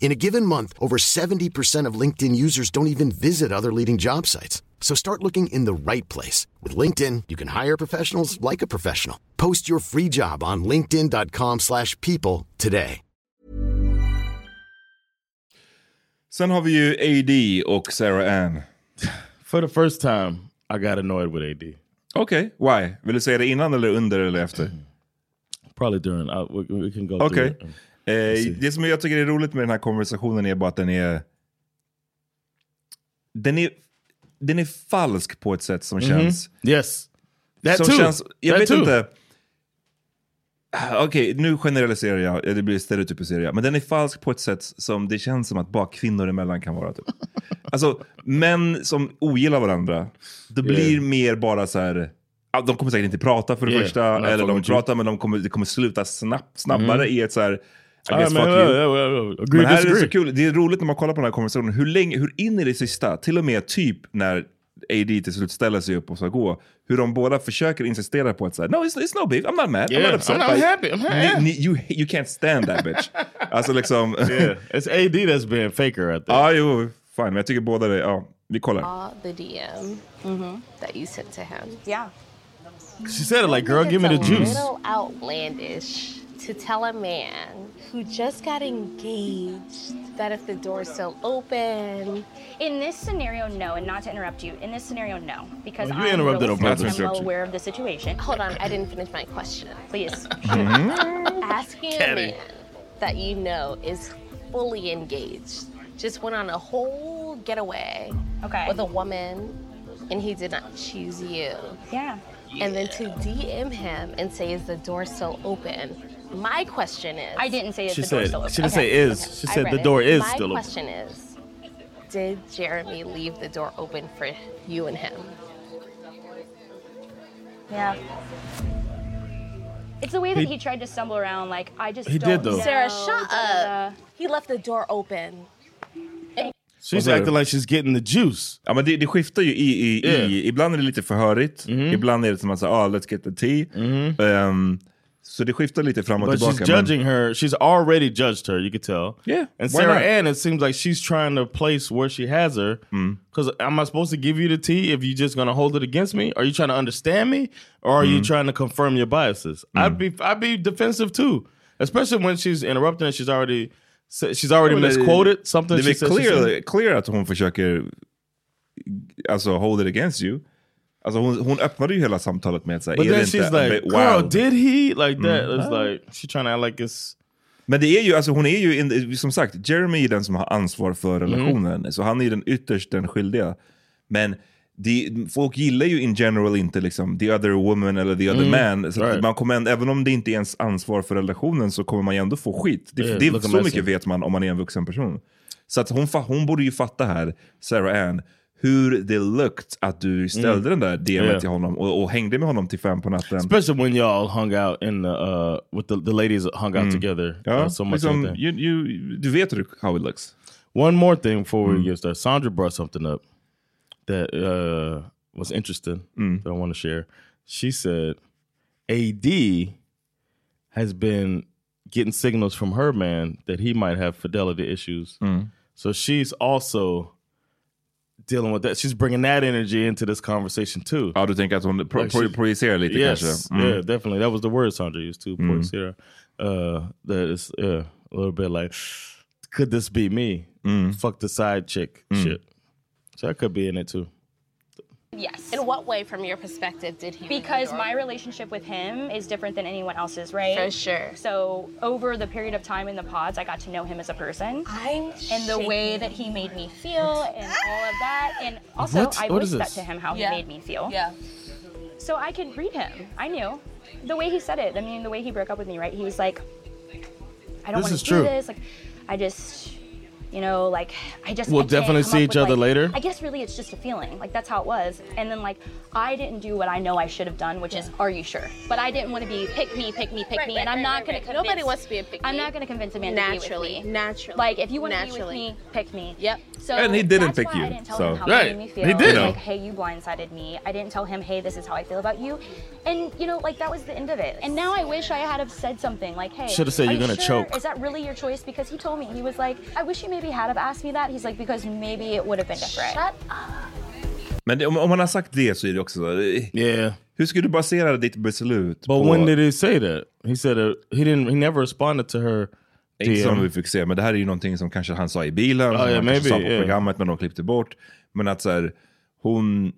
In a given month, over 70% of LinkedIn users don't even visit other leading job sites. So start looking in the right place. With LinkedIn, you can hire professionals like a professional. Post your free job on linkedin.com/people slash people today.
Sen har vi ju AD och Sarah Ann.
For the first time I got annoyed with AD.
Okej, why? Vill du säga det innan eller under eller efter?
Probably during. I, we, we can go
Okej.
through it. and-
Eh, det som jag tycker är roligt med den här konversationen är bara att den är... Den är, den är falsk på ett sätt som
Mhm.
känns...
Yes. That
som
too.
jag
That
vet
too.
inte. Ah, Okej, nu generaliserar jag, eller det blir stereotypiserar jag. Men den är falsk på ett sätt som det känns som att bara kvinnor emellan kan vara. Typ. alltså, män som ogillar varandra, det
Yeah.
blir mer bara så här... ah, De kommer säkert inte prata för det
Yeah, I'm
första,
not
eller de
fucking with you.
pratar men de kommer, Mm. det kommer sluta snabb, snabbare
Mhm.
i ett så här... I
Ah,
guess
men,
fuck
ja,
you.
ja, ja, ja. Agree,
Men här är det
disagree.
så kul, det är roligt när man kollar på den här konversationen, hur, länge, hur in i det sista, till och med typ när AD till slut ställer sig upp och ska gå, hur de båda försöker insistera på att säga no it's, it's no beef, I'm not mad, I'm
Yeah,
not upset.
I'm not
by-
happy, I'm happy."
Ni, ni, you, you can't stand that bitch. alltså liksom...
Yeah, it's AD that's being faker at
Ja, ah, jo, fine, men jag tycker båda det, ja, vi kollar.
Saw the DM that you sent to him.
Yeah.
She said it like, girl, give me the
It's a
juice.
little outlandish to tell a man who just got engaged that if the door's still open,
In this scenario, no, and not to interrupt you. In this scenario, no, because
Oh, you
I'm
interrupted
realistic
on purpose.
and I'm well
Interrupted.
aware of the situation.
hold on, I didn't finish my question.
Please.
Mm-hmm.
Asking a
Catty.
man that you know is fully engaged, just went on a whole getaway with a woman, and he did not choose you.
Yeah.
And then to DM him and say, "Is the door still open?" My question is. I didn't
say
is She the door said- still she open. didn't say is. She said the door is
My
still open.
question is, did Jeremy leave the door open for you and him?
Yeah. It's the way that
He-
he, tried to stumble around. Like I just
He
don't
did, though.
know,
Sarah, shut
da-da-da.
up. He left the door open.
She's acting like she's getting the juice.
Ja, men det, det skiftar ju i, i,
Yeah. Mm-hmm.
i. Ibland är det lite förhörigt, ibland är det som att säga ah, let's get the tea. Ehm, så det skiftar lite fram och
But
tillbaka.
she's
men-
judging her. She's already judged her. You could tell.
Yeah, why
And Sarah
not?
Ann, it seems like she's trying to place where she has her.
Mm.
Because am I supposed to give you the tea if you're just going to hold it against me? Are you trying to understand me, or are
Mm.
you trying to confirm your biases? I'd be I'd be defensive too, especially when she's interrupting and she's already sa- she's already
Ja, men det-
misquoted something.
Det
she
är
said
väl
she said.
clear, clear att hon försöker alltså, hold it against you. Alltså, hon, hon öppnade ju hela samtalet med att säga,
But
är det
then
inte
she's
a
like,
bit
"Girl,
wild?"
did he like that?"
Mm.
It's like she trying to act like it's.
Men det är ju, alltså, hon är ju, in, som sagt, Jeremy är den som har ansvar
Mm.
för relationen. Så han är ju den ytterst den skyldiga. Men det, folk gillar ju in general inte liksom, the other woman eller the other
Mm,
man. Så att
right.
man kommer, ändå- även om det inte är ens ansvar för relationen så kommer man ju ändå få skit. Det,
Yeah,
det är,
Eh, look a
så
messy.
mycket vet man om man är en vuxen person. Så att hon, fa- hon borde ju fatta här, Sarah Ann, hur det looked att du ställde den
Mm.
där DMet
Yeah.
till honom och, och hängde med honom till fem på natten.
Especially when y'all hung out in the uh with the, the ladies hung out
Mm.
together
Ja,
uh, so much.
liksom,
like that.
you, you, du vet hur det- how it looks. Mm.
One more thing before we get started. Sandra brought something up that uh, was interesting
Mm.
that I want to share. She said AD has been getting signals from her man that he might have fidelity issues.
Mm.
So she's also dealing with that. She's bringing that energy into this conversation too.
Ja, du tänker att hon pro- pro-
she's-
projicerar lite
yes,
kanske. Mm.
Yeah, definitely. That was the word Sandra used too,
Mm.
projicera. Uh, that is yeah, a little bit like, could this be me? Fuck the side chick
Mm.
shit. So that could be in it too.
Yes.
In what way, from your perspective, did he? leave the
Because
door
my
open?
relationship with him is different than anyone else's, right?
For sure.
So over the period of time in the pods, I got to know him as a person.
I'm
and the way
shaking.
that he made me feel and all of that. And also
What?
I
What is
voiced that
this?
to him how
Yeah.
he made me feel. Yeah. So I could read him. I knew. The way he said it, I mean the way he broke up with me, right? He was like, I don't
This
want
is
to
true.
do this. Like I just
You know, like I just
We'll
I can't
definitely
come
see
up
each
with,
other
like-
later.
I guess really it's just a feeling. Like that's how it was. And then like I didn't do what I know I should have done, which is are you sure? But I didn't want to be pick me, pick me, pick
Right,
me,
right,
and I'm
right,
not
right,
gonna
right.
convince
Nobody wants to be a pick
I'm
me.
not gonna convince a man
Naturally,
to be with me. Naturally. Like if you want to be with
naturally.
me, pick me.
Yep.
So
And he didn't
that's
pick
why
you,
I didn't tell
so-
him how
Right.
it made me feel.
He didn't.
Like, hey, you blindsided me. I didn't tell him, hey, this is how I feel about you. And you know, like that was the end of it. And now I wish I had have said something like, hey,
Should've said
are
you're
you
gonna
sure?
choke.
Is that really your choice? Because he told me he was like, I wish you maybe had have asked me that. He's like, because maybe it would have been different. Shut
Men det, om, om man har sagt det så är det också...
Yeah.
Hur skulle du basera ditt beslut
But
på...
when did he say that? He said uh, he didn't. He never responded to her.
Inte som
DM.
vi fick se, men det här är ju någonting som kanske han sa i bilen,
Ja,
som
ja,
han kanske sa
maybe,
på
Ah, yeah.
programmet, men de klippte bort. Men att så här, hon...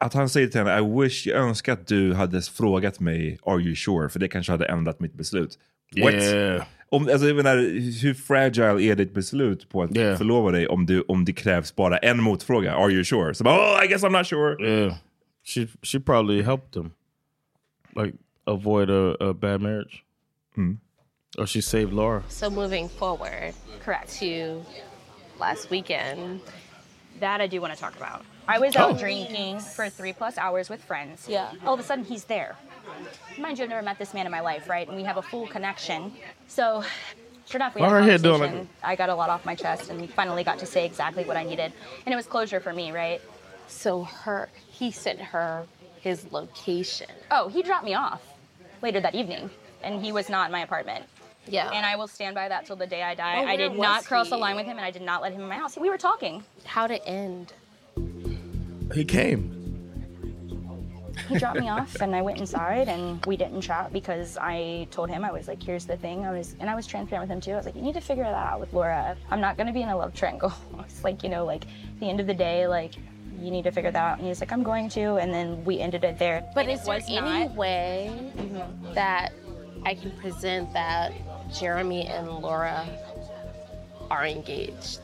Att han säger till henne, I wish, jag önskar att du hade frågat mig, are you sure? För det kanske hade ändrat mitt beslut. What?
Yeah.
Om, alltså, jag menar, hur fragile är ditt beslut på att förlova dig om, du, om det krävs bara en motfråga? Are you sure? Så bara, oh, I guess I'm not sure.
Yeah, she she probably helped him, like avoid a, a bad marriage, or she saved Laura.
So moving forward, correct to last weekend.
That I do want to talk about. I was
Oh.
Oh.
out drinking for three plus hours with friends. Yeah. All of a sudden, he's there. Mind you, I've never met this man in my life, right? And we have a full connection. So, sure enough, we had
Why
a
her head doing
conversation.
like
I got a lot off my chest and finally got to say exactly what I needed. And it was closure for me, right?
So her, he sent her his location.
Oh, he dropped me off later that evening, and he was not in my apartment.
Yeah.
And I will stand by that till the day I die.
Oh,
I did
where
not
was
cross the
he?
line with him, and I did not let him in my house. We were talking.
How'd it end?
He came.
He dropped me off, and I went inside, and we didn't chat because I told him I was like, "Here's the thing." I was, and I was transparent with him too. I was like, "You need to figure that out with Laura. I'm not gonna be in a love triangle." it's like you know, like at the end of the day, like you need to figure that out. And he's like, "I'm going to," and then we ended it there.
But
And it
is there
was Mm-hmm.
any way that I can present that Jeremy and Laura are engaged?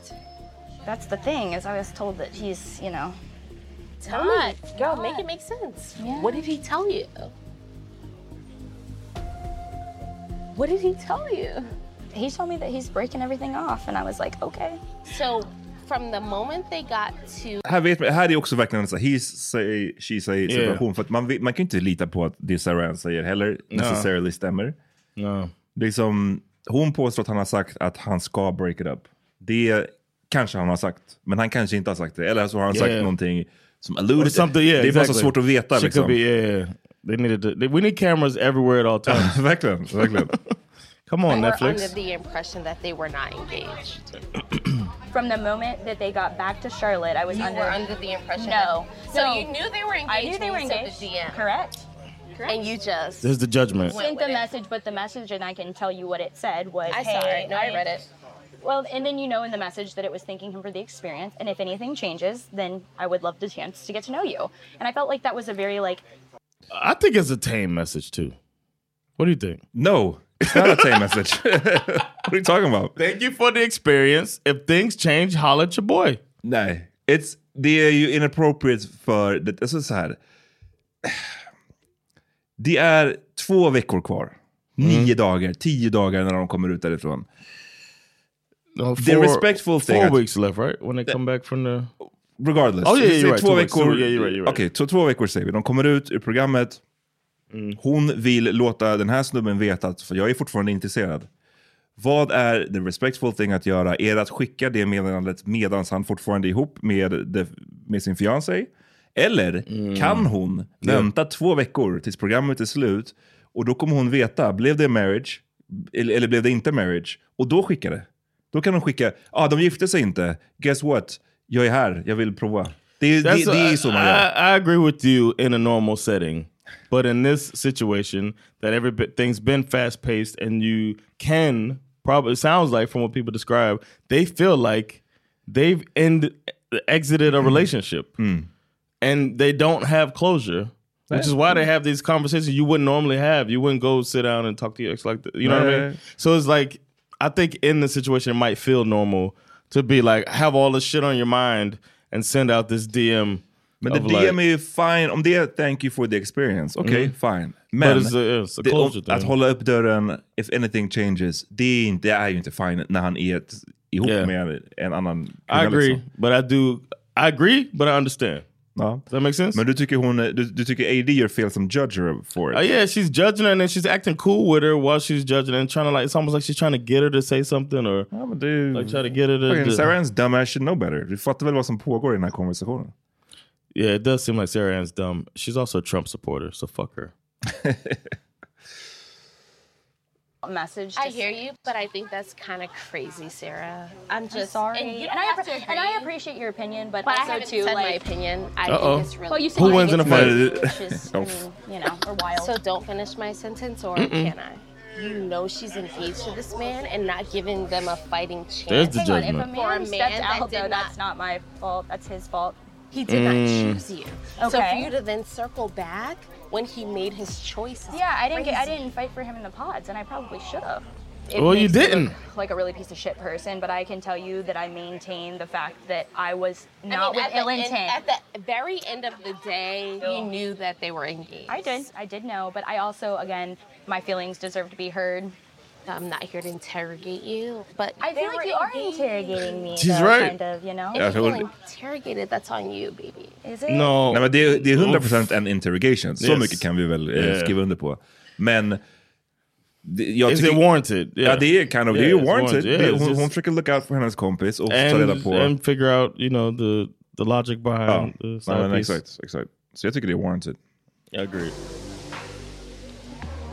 That's the thing is I was told that he's, you know,
Tell me. Girl, make it make sense. What did he tell you?
What did he tell you? He told me that he's breaking everything off, and I was like, okay.
So from the moment they got to
Här, vet, man- här är också verkligen en sån här he say, she say
Yeah.
situation. För att man, vet- man kan ju inte lita på att det Sarah Ann säger heller necessarily stämmer. Liksom, hon påstår att han har sagt att han ska break it up. Det kanske han har sagt, men han kanske inte har sagt det. Eller så har han
Yeah.
sagt någonting som
Or
alluded.
something, yeah,
det är bara så
exactly.
svårt att veta.
She
liksom.
could be, yeah, yeah. They needed to, they, we need cameras everywhere at all times.
verkligen, verkligen.
Come on,
they were
Netflix.
under the impression that they were not engaged.
From the moment that they got back to Charlotte, I was
You
under
were under the impression
No.
that- So
No.
you knew they were engaged
I knew they
when
were
you sent
engaged.
the DM.
Correct. Correct.
And you just
There's the judgment.
sent the message, but the message, and I can tell you what it said was,
I
hey,
saw it. No, I read it.
Well, and then you know in the message that it was thanking him for the experience, and if anything changes, then I would love the chance to get to know you. And I felt like that was a very like
I think it's a tame message too. What do you think?
No, it's not a tame message. what are you talking about?
Thank you for the experience. If things change, holla at your boy.
Nej, it's, det är ju inappropriate för... Det, alltså så här. Det är två veckor kvar.
Mm.
Nio dagar, tio dagar när de kommer ut därifrån. the
four-
respectful thing...
four
att-
weeks left, right? When they come back from the
regardless.
Oh, yeah,
Vi
yeah,
säger
you're right,
två
two weeks.
veckor.
Yeah, you're right, you're right.
Okej, så två veckor säger vi. De kommer ut ur programmet. Hon vill låta den här snubben veta att för jag är fortfarande intresserad. Vad är the respectful thing att göra? Är det att skicka det meddelandet medan han fortfarande är ihop med, det, med sin fiancé? Eller kan hon
Ja.
vänta två veckor tills programmet är slut och då kommer hon veta, blev det marriage eller, eller blev det inte marriage? Och då skicka det. Då kan de skicka, ah, de gifte sig inte, guess what? Jag är här, jag vill prova. Det, är- det,
That's
det är
what-
ju så man
I,
gör.
I agree with you in a normal setting, but in this situation, that everything's been fast paced, and you can probably it sounds like from what people describe, they feel like they've end exited a relationship,
Hmm.
and they don't have closure. Which is why they have these conversations you wouldn't normally have. You wouldn't go sit down and talk to your ex like that. You know what I
Right.
mean? So it's like I think in the situation it might feel normal to be like have all this shit on your mind and send out this DM.
Men the
of
DM
like,
är ju fine, om det är thank you for the experience, okej,
Mm.
fine.
But
Men
it's a- it's a
det, om,
closure thing.
att hålla upp dörren, if anything changes, det är, inte, det är ju inte fine när han är ett ihop med en annan
I
kvinna,
agree,
liksom.
but I do. I agree, but I understand.
Ja.
Does that make sense?
Men du tycker, hon, du, du tycker AD gör fel som judge her for it?
Oh yeah, she's judging her and then she's acting cool with her while she's judging her and trying to like. It's almost like she's trying to get her to say something or like try to get her to.
Fucking Sarah Ann's dumb ass should know better. Du fattar väl vad som pågår i den här konversationen?
Yeah, it does seem like Sarah Ann's dumb. She's also a Trump supporter, so fuck her.
message.
I hear you, but I think that's kind of crazy, Sarah. I'm just
sorry,
and you don't
and I
have
appre-
to
and I
agree.
appreciate your opinion, but,
But I
also
haven't
too
said my
like
opinion. I
Uh-oh.
think it's really.
Well, you said
Who
you
wins in a
think it's
fight?
which is, I
Oh.
mean, you know, or wild.
So don't finish my sentence, or
Mm-mm.
can I? You know she's engaged to this man and not giving them a fighting chance.
There's the Hang on, if a judgment.
man stepped out, though,
that's
not my fault. That's his fault.
He did not
Mm.
choose you. So for
Okay.
you to then circle back when he made his choice. is
Yeah, I didn't get, I
crazy.
didn't fight for him in the pods, and I probably should have.
It Well, you makes me look didn't.
like a really piece of shit person, but I can tell you that I maintain the fact that I was
I
not
mean,
with
at
ill
the end-
intent.
at the very end of the day, you knew that they were engaged.
I did, I did know, but I also, again, my feelings deserve to be heard.
I'm not here to interrogate you, but
I
they
feel
were
like you are
engaged.
interrogating me.
She's
though,
right.
Kind of, you know.
If
Yeah,
you
I
feel
would-
interrogated, that's on you, baby.
Is it?
Nej, men det, det är 100 procent en interrogation. Så
Yes.
mycket kan vi väl eh,
Yeah.
skriva under på. Men... Det, jag
Is
tycker-
it warranted?
Ja, det är kind of, det är
Yeah,
ju
it's
warranted.
warranted.
Det är-
Yeah, it's
hon,
just-
hon försöker look out för hennes kompis och ta reda
and,
på...
and uh, figure out you know the the logic
ja,
Oh, behind the
nej,
side
men,
piece.
exakt, exakt. Så jag tycker det är warranted.
I agree.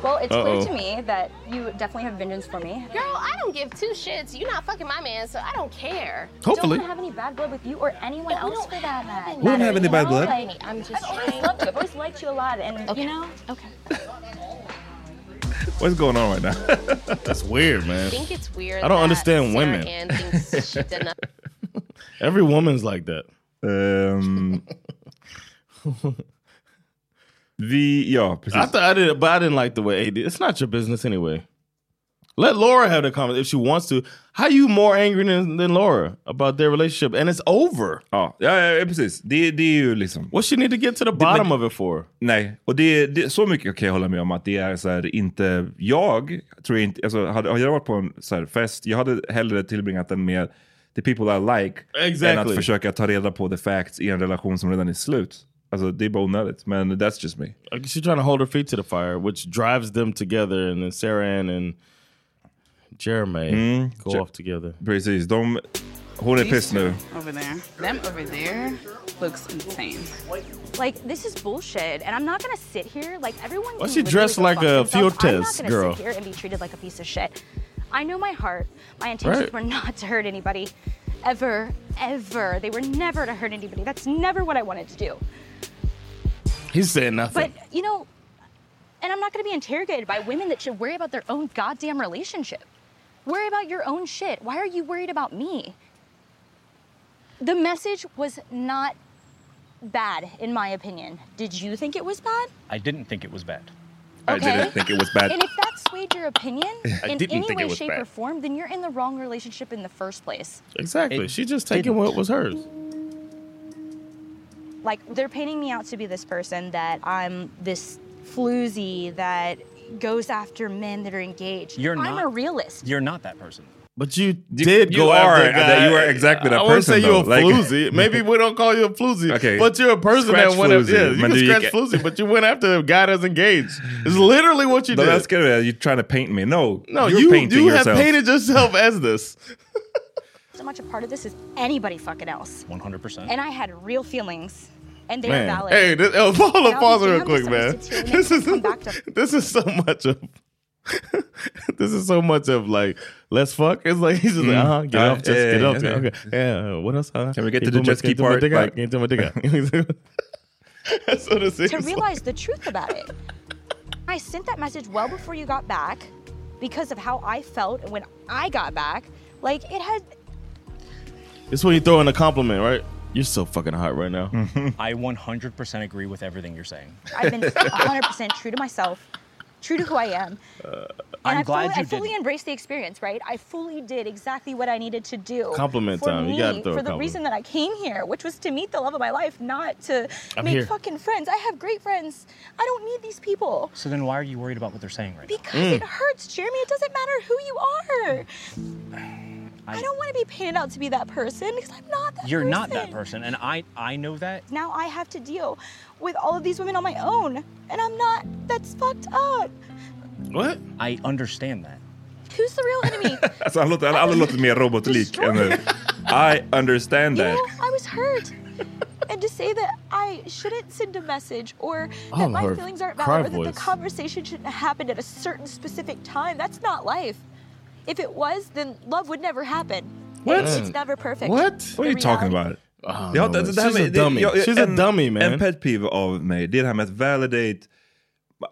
Well, it's
Uh-oh.
clear to me that you definitely have vengeance for me.
Girl, I don't give two shits. You're not fucking my man, so I don't care.
Hopefully.
don't have any bad blood with you or anyone else for that matter.
We don't have any
you
bad
know?
blood.
Like,
I'm just
I've always loved you. I've always liked you a lot, and you know. Okay.
What's going on right now?
That's weird, man.
I think it's weird.
I don't
that
understand
Sarah
women.
Ann thinks she did not-
Every woman's like that.
Um, vi, ja, precis.
I thought I did, but I didn't like the way AD. It's not your business anyway. Let Laura have the comment if she wants to. How you more angry than, than Laura about their relationship and it's over?
Ja, ja, ja precis. Det, det är ju liksom...
What she need to get to the bottom of it for?
Nej, och det, det, så mycket kan jag hålla med om att det är så här, inte... Jag tror jag inte... Alltså, hade, hade jag varit på en så här, fest, jag hade hellre tillbringat den med the people I like än att
Exactly.
försöka ta reda på the facts i en relation som redan är slut. Alltså, det är bara onödigt, men that's just me.
Like, She's trying to hold her feet to the fire, which drives them together. And then Sarah Ann and Jeremy
Mm.
go
Jer-
off together.
Precis, de... Hon är piss nu.
Over there. Them over there looks insane.
Like this is bullshit, and I'm not gonna sit here like everyone.
Why
can
she
literally
dressed
go
like
fuck
a
themselves. I'm
Fiortes
not gonna
girl?
sit here and be treated like a piece of shit. I know my heart. My intentions
Right.
were not to hurt anybody, ever, ever. They were never to hurt anybody. That's never what I wanted to do.
He's saying
But
nothing.
you know, and I'm not going to be interrogated by women that should worry about their own goddamn relationship. Worry about your own shit. Why are you worried about me? The message was not bad, in my opinion. Did you think it was bad?
I didn't think it was bad.
I didn't think it was bad.
And if that swayed your opinion
I
in
didn't
any
think it
way,
was
shape,
bad.
or form, then you're in the wrong relationship in the first place.
exactly.
It
She just taking what was hers.
like they're painting me out to be this person that I'm this floozy that goes after men that are engaged.
You're
I'm
not.
a realist.
You're not that person.
But you did
you
go
are-
after
that
guy.
you are exactly that
I wouldn't
person,
say you're a
though. Like-
floozy. Maybe we don't call you a floozy.
Okay.
But you're a person
Scratch
that went after.
floozy,
Yeah, you
men
can
do you
scratch
get-
floozy, but you went after a guy that's engaged. It's literally what you
Mm. No,
did.
that's good. You're trying to paint me. No,
no,
you're
you
painting
you
yourself.
have painted yourself as this.
So much a part of this is anybody fucking else.
100%.
And I had real feelings, and they are
Man.
valid.
Hey, this, oh,
And
hold
I'll
on,
be
pause real
damned if
quick,
someone
man.
sits here and
This
makes me
is
come back to
this is so much of this is so much of like let's fuck. It's like he's just like
Mm.
uh huh, get
Uh,
off, just
yeah,
get
yeah,
off.
yeah.
Okay, yeah. What else? Huh?
Can we get
Can't
to the
do my-
jet ski
can't do my
part?
dick out,
Like-
can't do my dick out. That's what it
to
is.
realize the truth about it. I sent that message well before you got back because of how I felt when I got back. Like it had
It's when you throw in a compliment, right? You're so fucking hot right now.
Mm-hmm.
I 100% agree with everything you're saying.
I've been 100% true to myself, true to who I am.
Uh, I'm
I
glad
fully,
you
I fully
didn't.
embraced the experience, right? I fully did exactly what I needed to do.
Compliment
for
time. You
Me,
gotta throw a
for the
compliment.
reason that I came here, which was to meet the love of my life, not to
I'm
make
here.
fucking friends. I have great friends. I don't need these people.
So then why are you Mm.
Mm.
worried about what they're saying right
Because
Mm.
it hurts, Jeremy. It doesn't matter who you are.
now? I-
I don't want to be painted out to be that person because I'm not that
You're
person.
not that person, and I I know that.
Now I have to deal with all of these women on my own, and I'm not. That's fucked up.
What?
I understand that.
Who's the real enemy?
Alltså, han låter, alla låter mer robotlik än nu. uh, I understand that.
I was hurt. and to say that I shouldn't send a message or
I
that
love
my
her
feelings aren't
Oh, cry
valid or that
voice.
the conversation shouldn't have happened at a certain specific time, that's not life. If it was, then love would never happen.
What?
It's, it's never perfect.
What are you talking about?
know,
har-
man. She's a
det-
dummy. She's a dummy, man.
En pet peeve av mig, det är det här med att validate.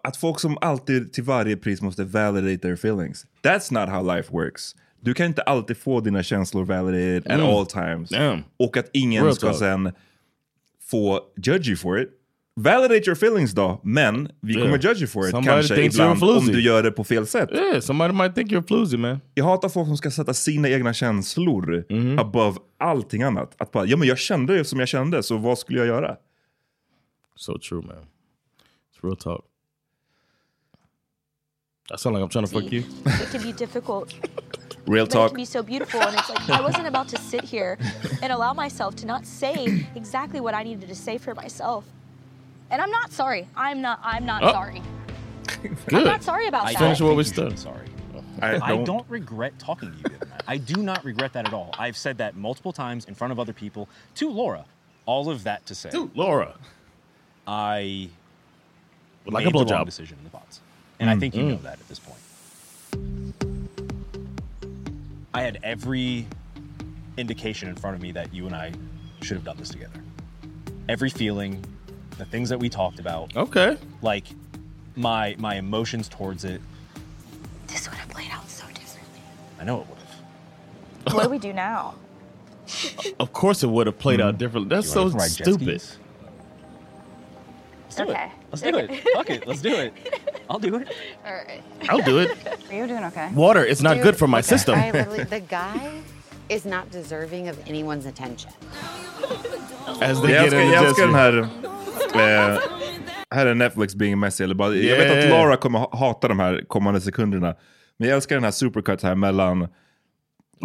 Att folk som alltid till varje pris måste validate their feelings. That's not how life works. Du kan inte alltid få dina känslor validated
Mm.
at all times.
Damn.
Och att ingen
Real
ska
talk.
sen få judge you for it. Validate your feelings då, men vi
Yeah.
kommer judge you for it
Somebody
kanske
thinks you're a
ibland om
floozy.
du gör det på fel sätt.
Yeah, somebody might think you're floozy man.
Jag hatar folk som ska sätta sina egna känslor
Mm.
above allting annat. Att bara, ja men jag kände ju som jag kände, så vad skulle jag göra?
So true, man. It's real talk. I sound like I'm trying to fuck you.
It can be difficult.
Real
but It can be so beautiful, and it's like I wasn't about to sit here and allow myself to not say exactly what I needed to say for myself. And I'm not sorry. I'm not. I'm not
Oh.
sorry.
Good.
I'm not sorry about that.
Finish what we
started.
Sorry.
I
I
don't-
don't regret talking to you. Good Night. I do not regret that at all. I've said that multiple times in front of other people to Laura. All of that to say.
To Laura.
I
Would like a
made the wrong
blowjob.
decision in the pots. And I
Mm.
think you know
Mm.
that at this point. I had every indication in front of me that you and I should have done this together. Every feeling, the things that we talked about.
Okay.
Like my my emotions towards it.
This would have played out so differently.
I know it would have.
What do we do now?
Of course, it would have played
Mm-hmm.
out differently. That's
You
so
wanna ride jet
stupid.
Let's do it. Let's do it. Fuck it. Let's do it. I'll do it.
All right.
I'll do it.
Are you doing okay?
Water is not good for my system.
I literally, the guy is not deserving of anyone's attention.
As they
Jag
get
älskar,
in
jag
the jet
älskar
ski.
den här... Eh, här är Netflix being messy. Eller bara, Jag vet att
Yeah.
Laura kommer ha- hata de här kommande sekunderna. Men jag älskar den här supercut här mellan...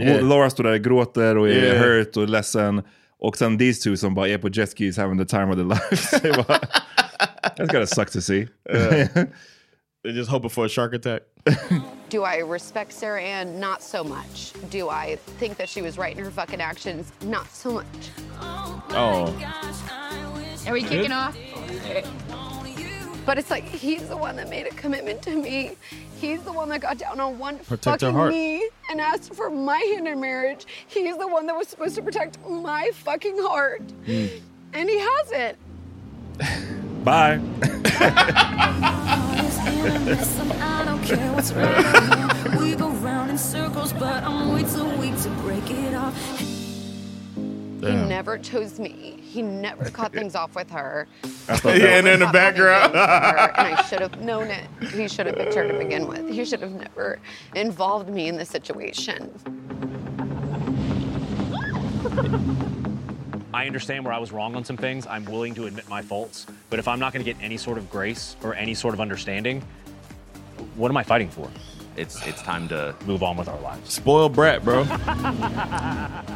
Yeah.
Laura står där och gråter och är
Yeah.
hurt och ledsen. Och sen these two som bara är på jetskis having the time of their lives. Det är bara- That's gotta suck to see.
They're just hoping for a shark attack.
Do I respect Sarah Ann? Not so much. Do I think that she was right in her fucking actions? Not so much.
Oh.
Are we
kicking off?
But it's like he's the one that made a commitment to me. He's the one that got down on one
Protect her
fucking
heart.
knee and asked for my hand in marriage. He's the one that was supposed to protect my fucking heart, and he hasn't.
Bye!
I don't care what's right. We go round in circles, but I'm way too weak to break it off.
He
Damn.
never chose me. He never caught things off with her.
That's not that-
in the background. and I should have known it. He should have picked her to begin with. He should have never involved me in this situation.
I understand where I was wrong on some things. I'm willing to admit my faults. But if I'm not going to get any sort of grace or any sort of understanding, what am I fighting for? It's it's time to move on with our lives.
Spoiled brat, bro.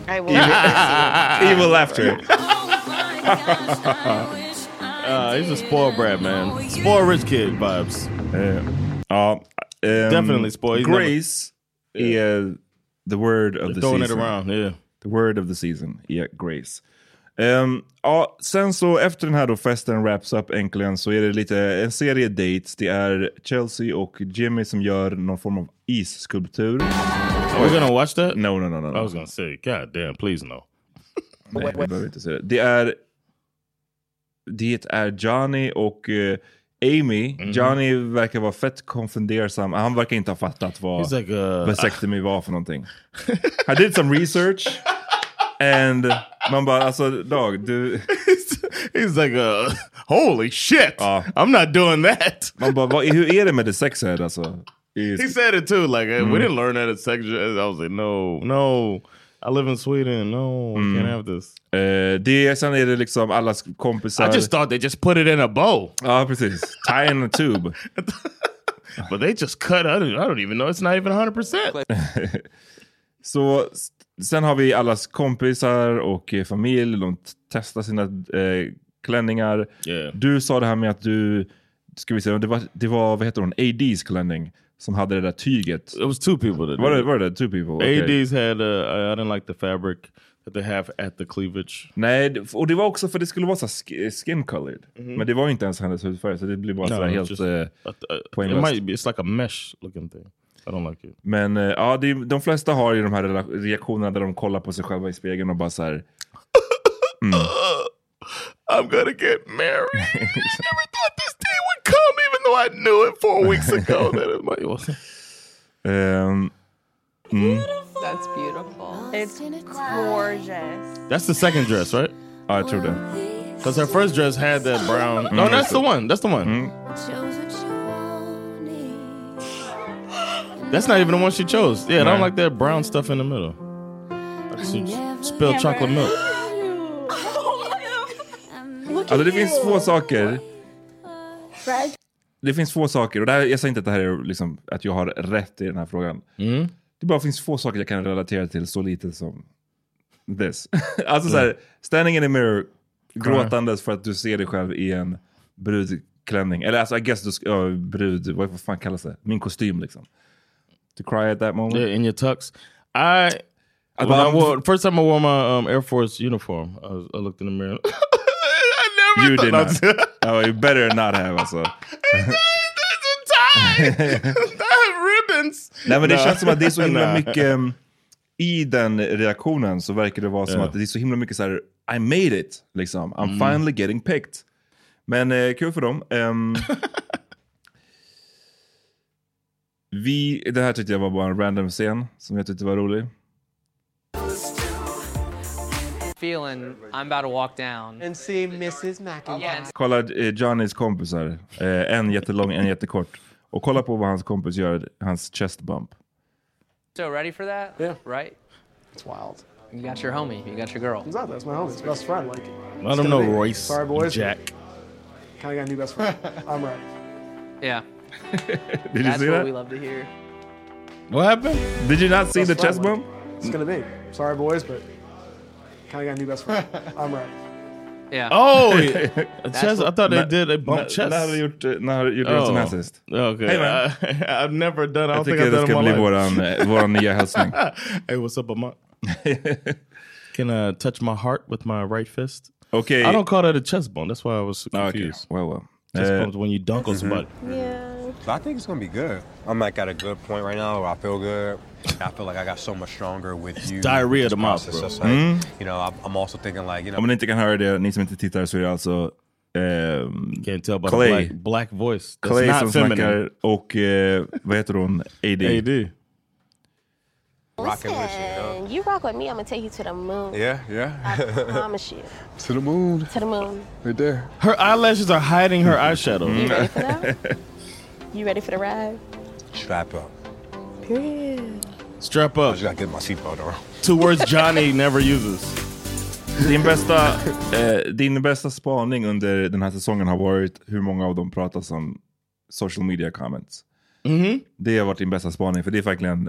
I will.
Evil laughter.
uh,
he's a spoiled brat, man. Spoiled rich kid vibes.
Eh, Ja, ehm,
Definitely spoiled. He's never-
Grace är the word of
They're
the
throwing it
season.
around,
The word of the season är Grace. Ehm, ja, sen så efter den här då festen wraps up äntligen så är det lite en serie dates. Det är Chelsea och Jimmy som gör någon form av isskulptur.
Are we gonna watch that?
No, no, no, no.
I was gonna say, god damn, please no.
Nej, vi behöver inte se det. Det är, det är Johnny och eh, Amy.
Mhm.
Johnny verkar vara fett konfundersam. Han verkar inte ha fattat vad
He's like, uh,
vasectomy var för någonting. I did some research. And man bara, alltså dog, du...
He's like, uh, holy shit! I'm not doing that!
Man bara, vad, hur är det med det sexhead alltså? I-
He said it too. Like, hey,
Mm.
we didn't learn that at sex. ed. I was like, no, no. I live in Sweden. No, we can't oh, have this.
Mm. Eh, det, sen är det liksom allas kompisar.
I just thought they just put it in a bow.
Ja, precis. Tie in a tube.
But they just cut. I don't, I don't even know. It's not even 100%.
Så s- Sen har vi allas kompisar och eh, familj. De t- testar sina eh, klänningar. Du sa det här med att du, ska vi se, det var, det var vad heter hon, AD's klänning som hade det där tyget.
It was two people that
Var
did
det,
it.
var det two people? Okej.
ADs had uh, I I didn't like the fabric that they have at the cleavage.
Nej, det- och det var också för det skulle vara så här sk- skin colored. Men det var ju inte ens hennes hudfärg, så det blir bara
No,
så här
it's
helt
just-
eh,
It
poänglöst.
might be it's like a mesh looking thing. I don't like it.
Men eh, ja, det, är- de flesta har ju de här rela- reaktionerna där de kollar på sig själva i spegeln och bara så här... Mm.
I'm gonna get married. I never thought this day would come, even though I knew it four weeks ago. that it might.
Ehm, mm.
That's beautiful. It's gorgeous.
That's the second dress, right?
I tror det.
Because her first dress had that brown. No,
Mm.
that's the one. That's the one.
Hmm.
That's not even the one she chose. Yeah, I don't
Nah.
like that brown stuff in the middle. Like she spilled chocolate milk.
Alltså det finns två saker.
Right?
Det finns få saker, och det här, jag säger inte att det här är liksom, att jag har rätt i den här frågan.
Mm.
Det bara finns få saker jag kan relatera till så lite som this. alltså så
Mm.
här, standing in the mirror, gråtandes för att du ser dig själv i en brudklänning. Eller alltså I guess du ska, ja, brud, vad vad fan kallas det? Min kostym liksom. To cry at that moment.
Yeah, in your tux. I,
Att
when I
man-
wore, first time I wore my um, Air Force uniform, I, was, I looked in the mirror.
you did
thought
not. oh, you better not have alltså.
I have ribbons.
Nej men det
Nah.
känns som att det är så himla
Nah.
mycket um, i den reaktionen så verkar det vara som
Ja.
att det är så himla mycket så här I made it liksom. I'm
Mm.
finally getting picked. Men eh, kul för dem. Ehm, vi, det här tyckte jag var bara en random scen som jag tyckte var rolig.
Feeling I'm about to walk down and see Mrs. McIntyre.
Kolla eh, Johnnys kompisar. Eh, en jättelång, en jättekort. Och kolla på vad hans kompis gör, hans chest bump.
So ready for that? Yeah. Right? It's wild. You got your homie. You got your girl.
Exactly, that's my homie, it's best friend. Like,
Let him know Royce.
Sorry, boys.
Jack.
Kind of got a new best friend. I'm right.
Yeah.
you
That's
see
what
that?
we love to hear.
What happened? Did you not see
Best
the
friend,
chest
like,
bump?
It's gonna be. Sorry, boys, but kind of got a new best friend. I'm right.
Yeah.
Oh, yeah. chest. I thought they
Nah,
did a bump
nah,
chest.
nah, har du gjort, eh, när har du gjort det som
Oh.
här sist?
Okay.
Hej, man.
I, I've never done. I
Jag
don't think
tycker
I've
det
done
ska
it
bli
in my
våran, eh,
life.
våran nya hälsning.
hey, what's up, Amon? Can I touch my heart with my right fist?
Okay.
I don't call that a chest bone. That's why I was confused.
Well, well.
Chest
Uh,
bone is when you dunk on
mhm.
somebody.
But I think it's gonna be good. I'm like at a good point right now. Where I feel good. I feel like I got so much stronger with you.
diarrhea
This
to mouth,
process.
bro.
It's like,
Mm.
You know, I'm- I'm also thinking like you know.
Om ni inte kan höra det, ni som inte tittar, så är det alltså ehm,
by the
Clay.
black- black voice. That's
Clay
not
som
feminine.
snackar och eh, vad heter hon? AD.
AD.
Rocking with you,
Listen, you rock with me, I'm gonna take you to the moon.
Yeah,
I
yeah.
promise you.
to the moon.
To the moon.
Right there.
Her eyelashes are hiding her eyeshadow.
You ready for that? You ready for the ride?
Strap up.
Period.
Strap up. I
just gotta get my seatbelt on.
Two words Johnny never uses.
Din bästa, eh, din bästa spaning under den här säsongen har varit hur många av dem pratar som social media comments.
Mm-hmm.
Det har varit din bästa spaning, för det är verkligen eh,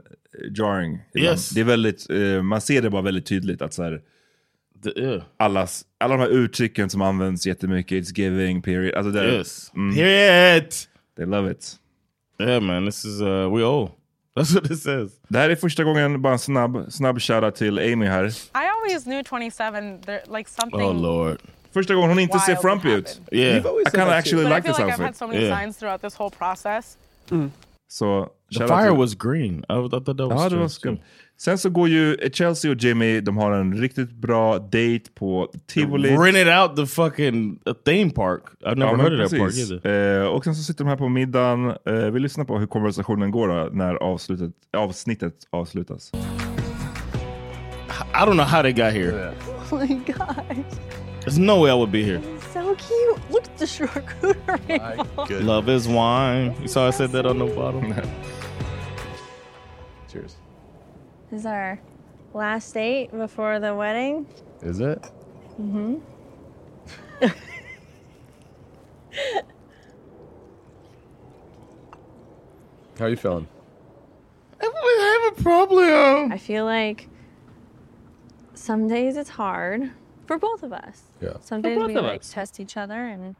jarring. ibland.
Yes.
Det är väldigt, eh, man ser det bara väldigt tydligt att så här, allas, alla de här uttrycken som används jättemycket, it's giving, period. Alltså det,
Yes. Period!
They love it.
Yeah man, this is, uh, we owe. That's what it says.
Det här är första gången, bara en snabb, snabb shoutout till Amy här.
I always knew 27, there, like something.
Oh, lord.
Första gången hon inte ser
Wild
frumpy ut.
Yeah.
Oh, I kind of actually
but
like
I feel
this
like
outfit.
I've
Mm.
had so many signs throughout this whole process.
Så,
The
shout out
fire
till-
was green. I, I thought that was
Ja, det var
strange,
skumt. Sen så går ju Chelsea och Jimmy, de har en riktigt bra date på Tivoli.
Rented out the fucking uh, theme park. I've never
Ja, men
heard of that park
precis.
either.
eh, och sen så sitter de här på middagen. Eh, vi lyssnar på hur konversationen går då, när avslutet, avsnittet avslutas.
I don't know how they got here.
Oh my gosh.
There's no way I would be here.
So cute. Look at the charcuterie.
Love is wine. You saw I said that on the bottom.
Cheers.
This is our last date before the wedding.
Is it?
Mm-hmm.
How you feeling?
I have a problem. I feel like
some days it's hard for both of us.
Yeah.
Some
For
days
both
we
of
like
us.
test each other and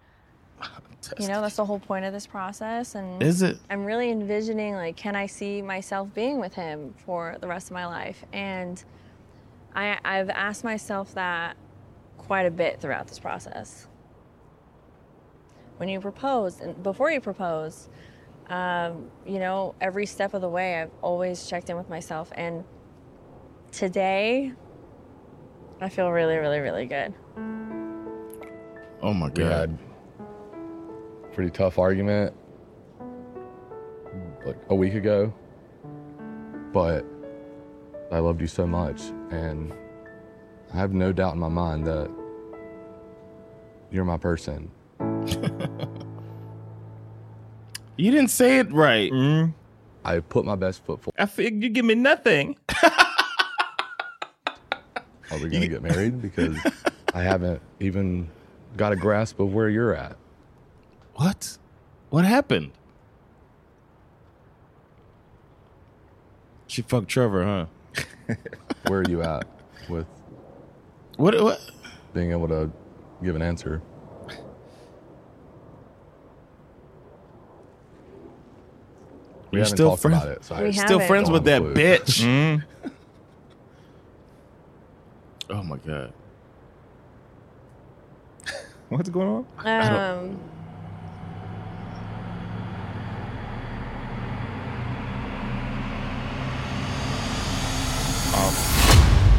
you know, that's the whole point of this process and
Is it?
I'm really envisioning like can I see myself being with him for the rest of my life? And I I've asked myself that quite a bit throughout this process. When you propose and before you propose, um, you know, every step of the way, I've always checked in with myself. And today, I feel really, really, really good.
Oh my
We had pretty tough argument like a week ago, but I loved you so much, and I have no doubt in my mind that you're my person.
you didn't say it right.
Mm-hmm. I put my best foot forward.
I fig- you give me nothing.
Are we gonna get married? Because I haven't even got a grasp of where you're at.
What? What happened? She fucked Trevor, huh?
Where are you at with
what, what
being able to give an answer? We
You're
haven't
still
talked
friends-
about it, so I
We Still haven't. friends
don't
with
have a
that
clue. Hmm?
bitch. Oh my god.
What's going on?
Um,
Um,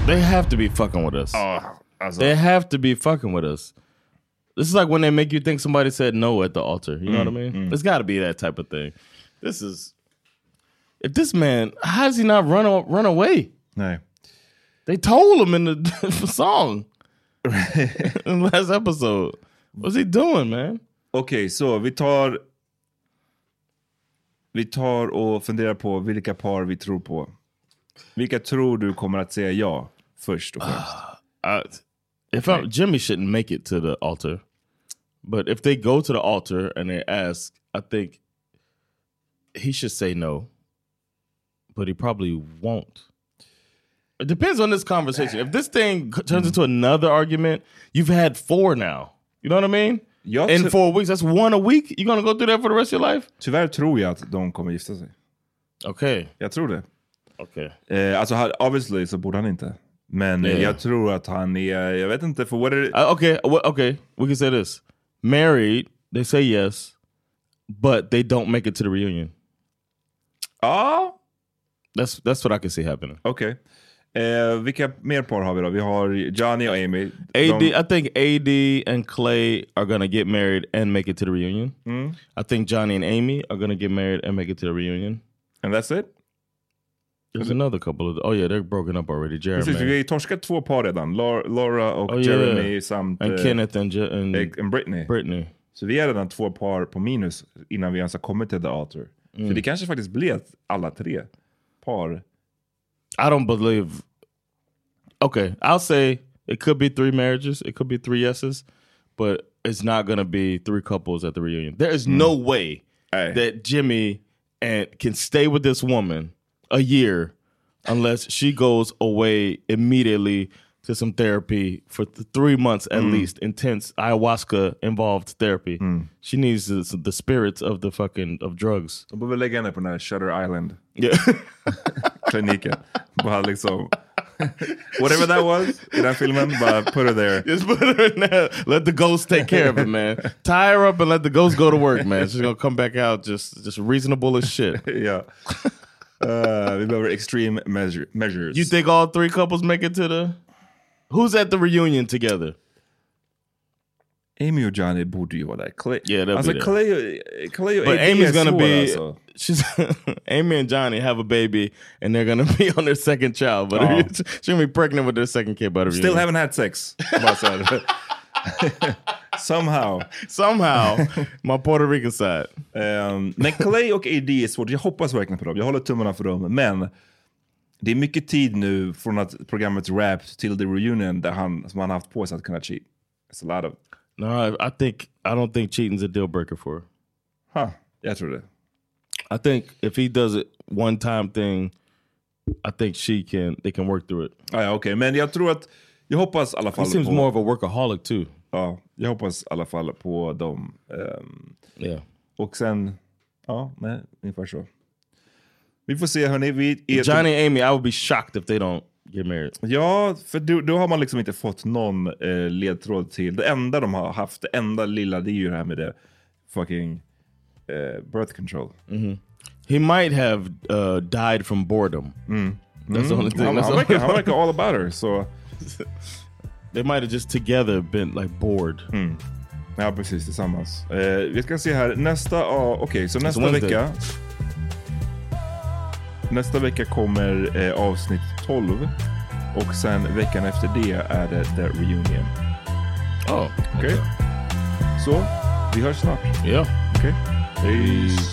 They have to be fucking with us.
Oh, I was
they
like-
have to be fucking with us. This is like when they make you think somebody said no at the altar. You know what I mean? It's got to be that type of thing. This is if this man, how does he not run a- run away?
No,
they told him in the song in the last episode. What's he doing, man?
Okej, så vi tar... Vi tar och funderar på vilka par vi tror på. Vilka tror du kommer att säga ja först och främst?
Ah. If I, Jimmy shouldn't make it to the altar, but if they go to the altar and they ask, I think he should say no, but he probably won't. It depends on this conversation. If this thing c- turns into another argument, you've had four now. You know what I mean? In
t-
four weeks, that's one a week. You're gonna go through that for the rest of your life?
Tyvärr tror jag att de kommer gifta sig.
Okej.
Jag tror det.
Okej.
Eh, alltså, han- obviously så borde han inte. Men eh,
Yeah.
jag tror att han är... Jag vet inte, för what är det...
Uh, okay, wha- okay, we can say this: married, they say yes, but they don't make it to the reunion.
Oh,
that's that's what I can see happening.
Okej. Eh, vilka mer par har vi då? Vi har Johnny och Amy.
AD,
De-
I think AD and Clay are gonna get married and make it to the reunion.
Mm.
I think Johnny and Amy are gonna get married and make it to the reunion.
And that's it.
There's another couple of. Oh yeah, they're broken up already. Jeremy
Precis, vi har ju torskat två par redan. Lau- Laura och
Oh, yeah.
Jeremy samt...
And
eh,
Kenneth and Je- and-
eh, and Britney.
Britney.
Så vi är redan två par på minus innan vi ens har kommit till The Altar. Så
Mm.
det kanske faktiskt blir att alla tre par...
I don't believe. Okay, I'll say it could be three marriages. It could be three yeses, but it's not gonna be three couples at the reunion. There is no way that Jimmy and can stay with this woman a year unless she goes away immediately to some therapy for th- three months at
Mm.
least, intense ayahuasca involved therapy. She needs the, the spirits of the fucking of drugs.
De behöver lägga henne på den här Shutter Island.
Yeah.
Kliniken. Bara liksom... Whatever that was i den filmen, bara put her there.
Just put her in there. Let the ghost take care of it, man. Tie her up and let the ghost go to work, man. She's gonna come back out just just reasonable as shit.
yeah. Uh, we behöver extreme measure, measures.
You think all three couples make it to the? Who's at the reunion together?
Amy och Johnny borde ju vara där. Clay,
yeah, they'll
alltså
be there.
Clay, Clay och
But
AD
Amy's
är
gonna
svår,
be
alltså.
she's Amy and Johnny have a baby and they're gonna be on their second child, but
Oh.
she's gonna be pregnant with their second kid by the
Still
reunion.
haven't had sex. Bara så här. Somehow.
Somehow. My Puerto Rican side.
Um, men Clay och AD är svårt. Jag hoppas verkligen på dem. Jag håller tummarna för dem. Men det är mycket tid nu från att programmet Wrapped till the reunion där han, som han haft på sig att kunna cheat. It's a lot of...
No, I, I think I don't think cheating's a deal breaker for her.
Huh. Jag tror det.
I think if he does it one time thing I think she can. They can work through it.
Ah, ja, Okej, men jag tror att... Jag hoppas i alla fall
seems
på...
more of a workaholic too.
Ja, jag hoppas i alla fall på dem. Ehm, Och sen... Ja, men ungefär så. Vi får se hörni. Vi är
Johnny and Amy, I would be shocked if they don't get married.
Ja, för då, då har man liksom inte fått någon eh, ledtråd till. Det enda de har haft, det enda lilla, det är ju det här med det fucking eh, birth control.
Mhm. He might have uh, died from boredom. That's the
Mm.
only thing.
Han-
That's
han
the
verkar-
only-
han verkar all about her. So
they might have just together been like bored.
Hmm. Ja, precis. Tillsammans. Eh, vi ska se här. Nästa... ja, Okej, så
It's
nästa
Wednesday.
vecka... Nästa vecka kommer eh, avsnitt 12. Och sen veckan efter det är det The Reunion.
Oh,
okej. Så, vi hörs snart.
Ja.
Okej. Peace.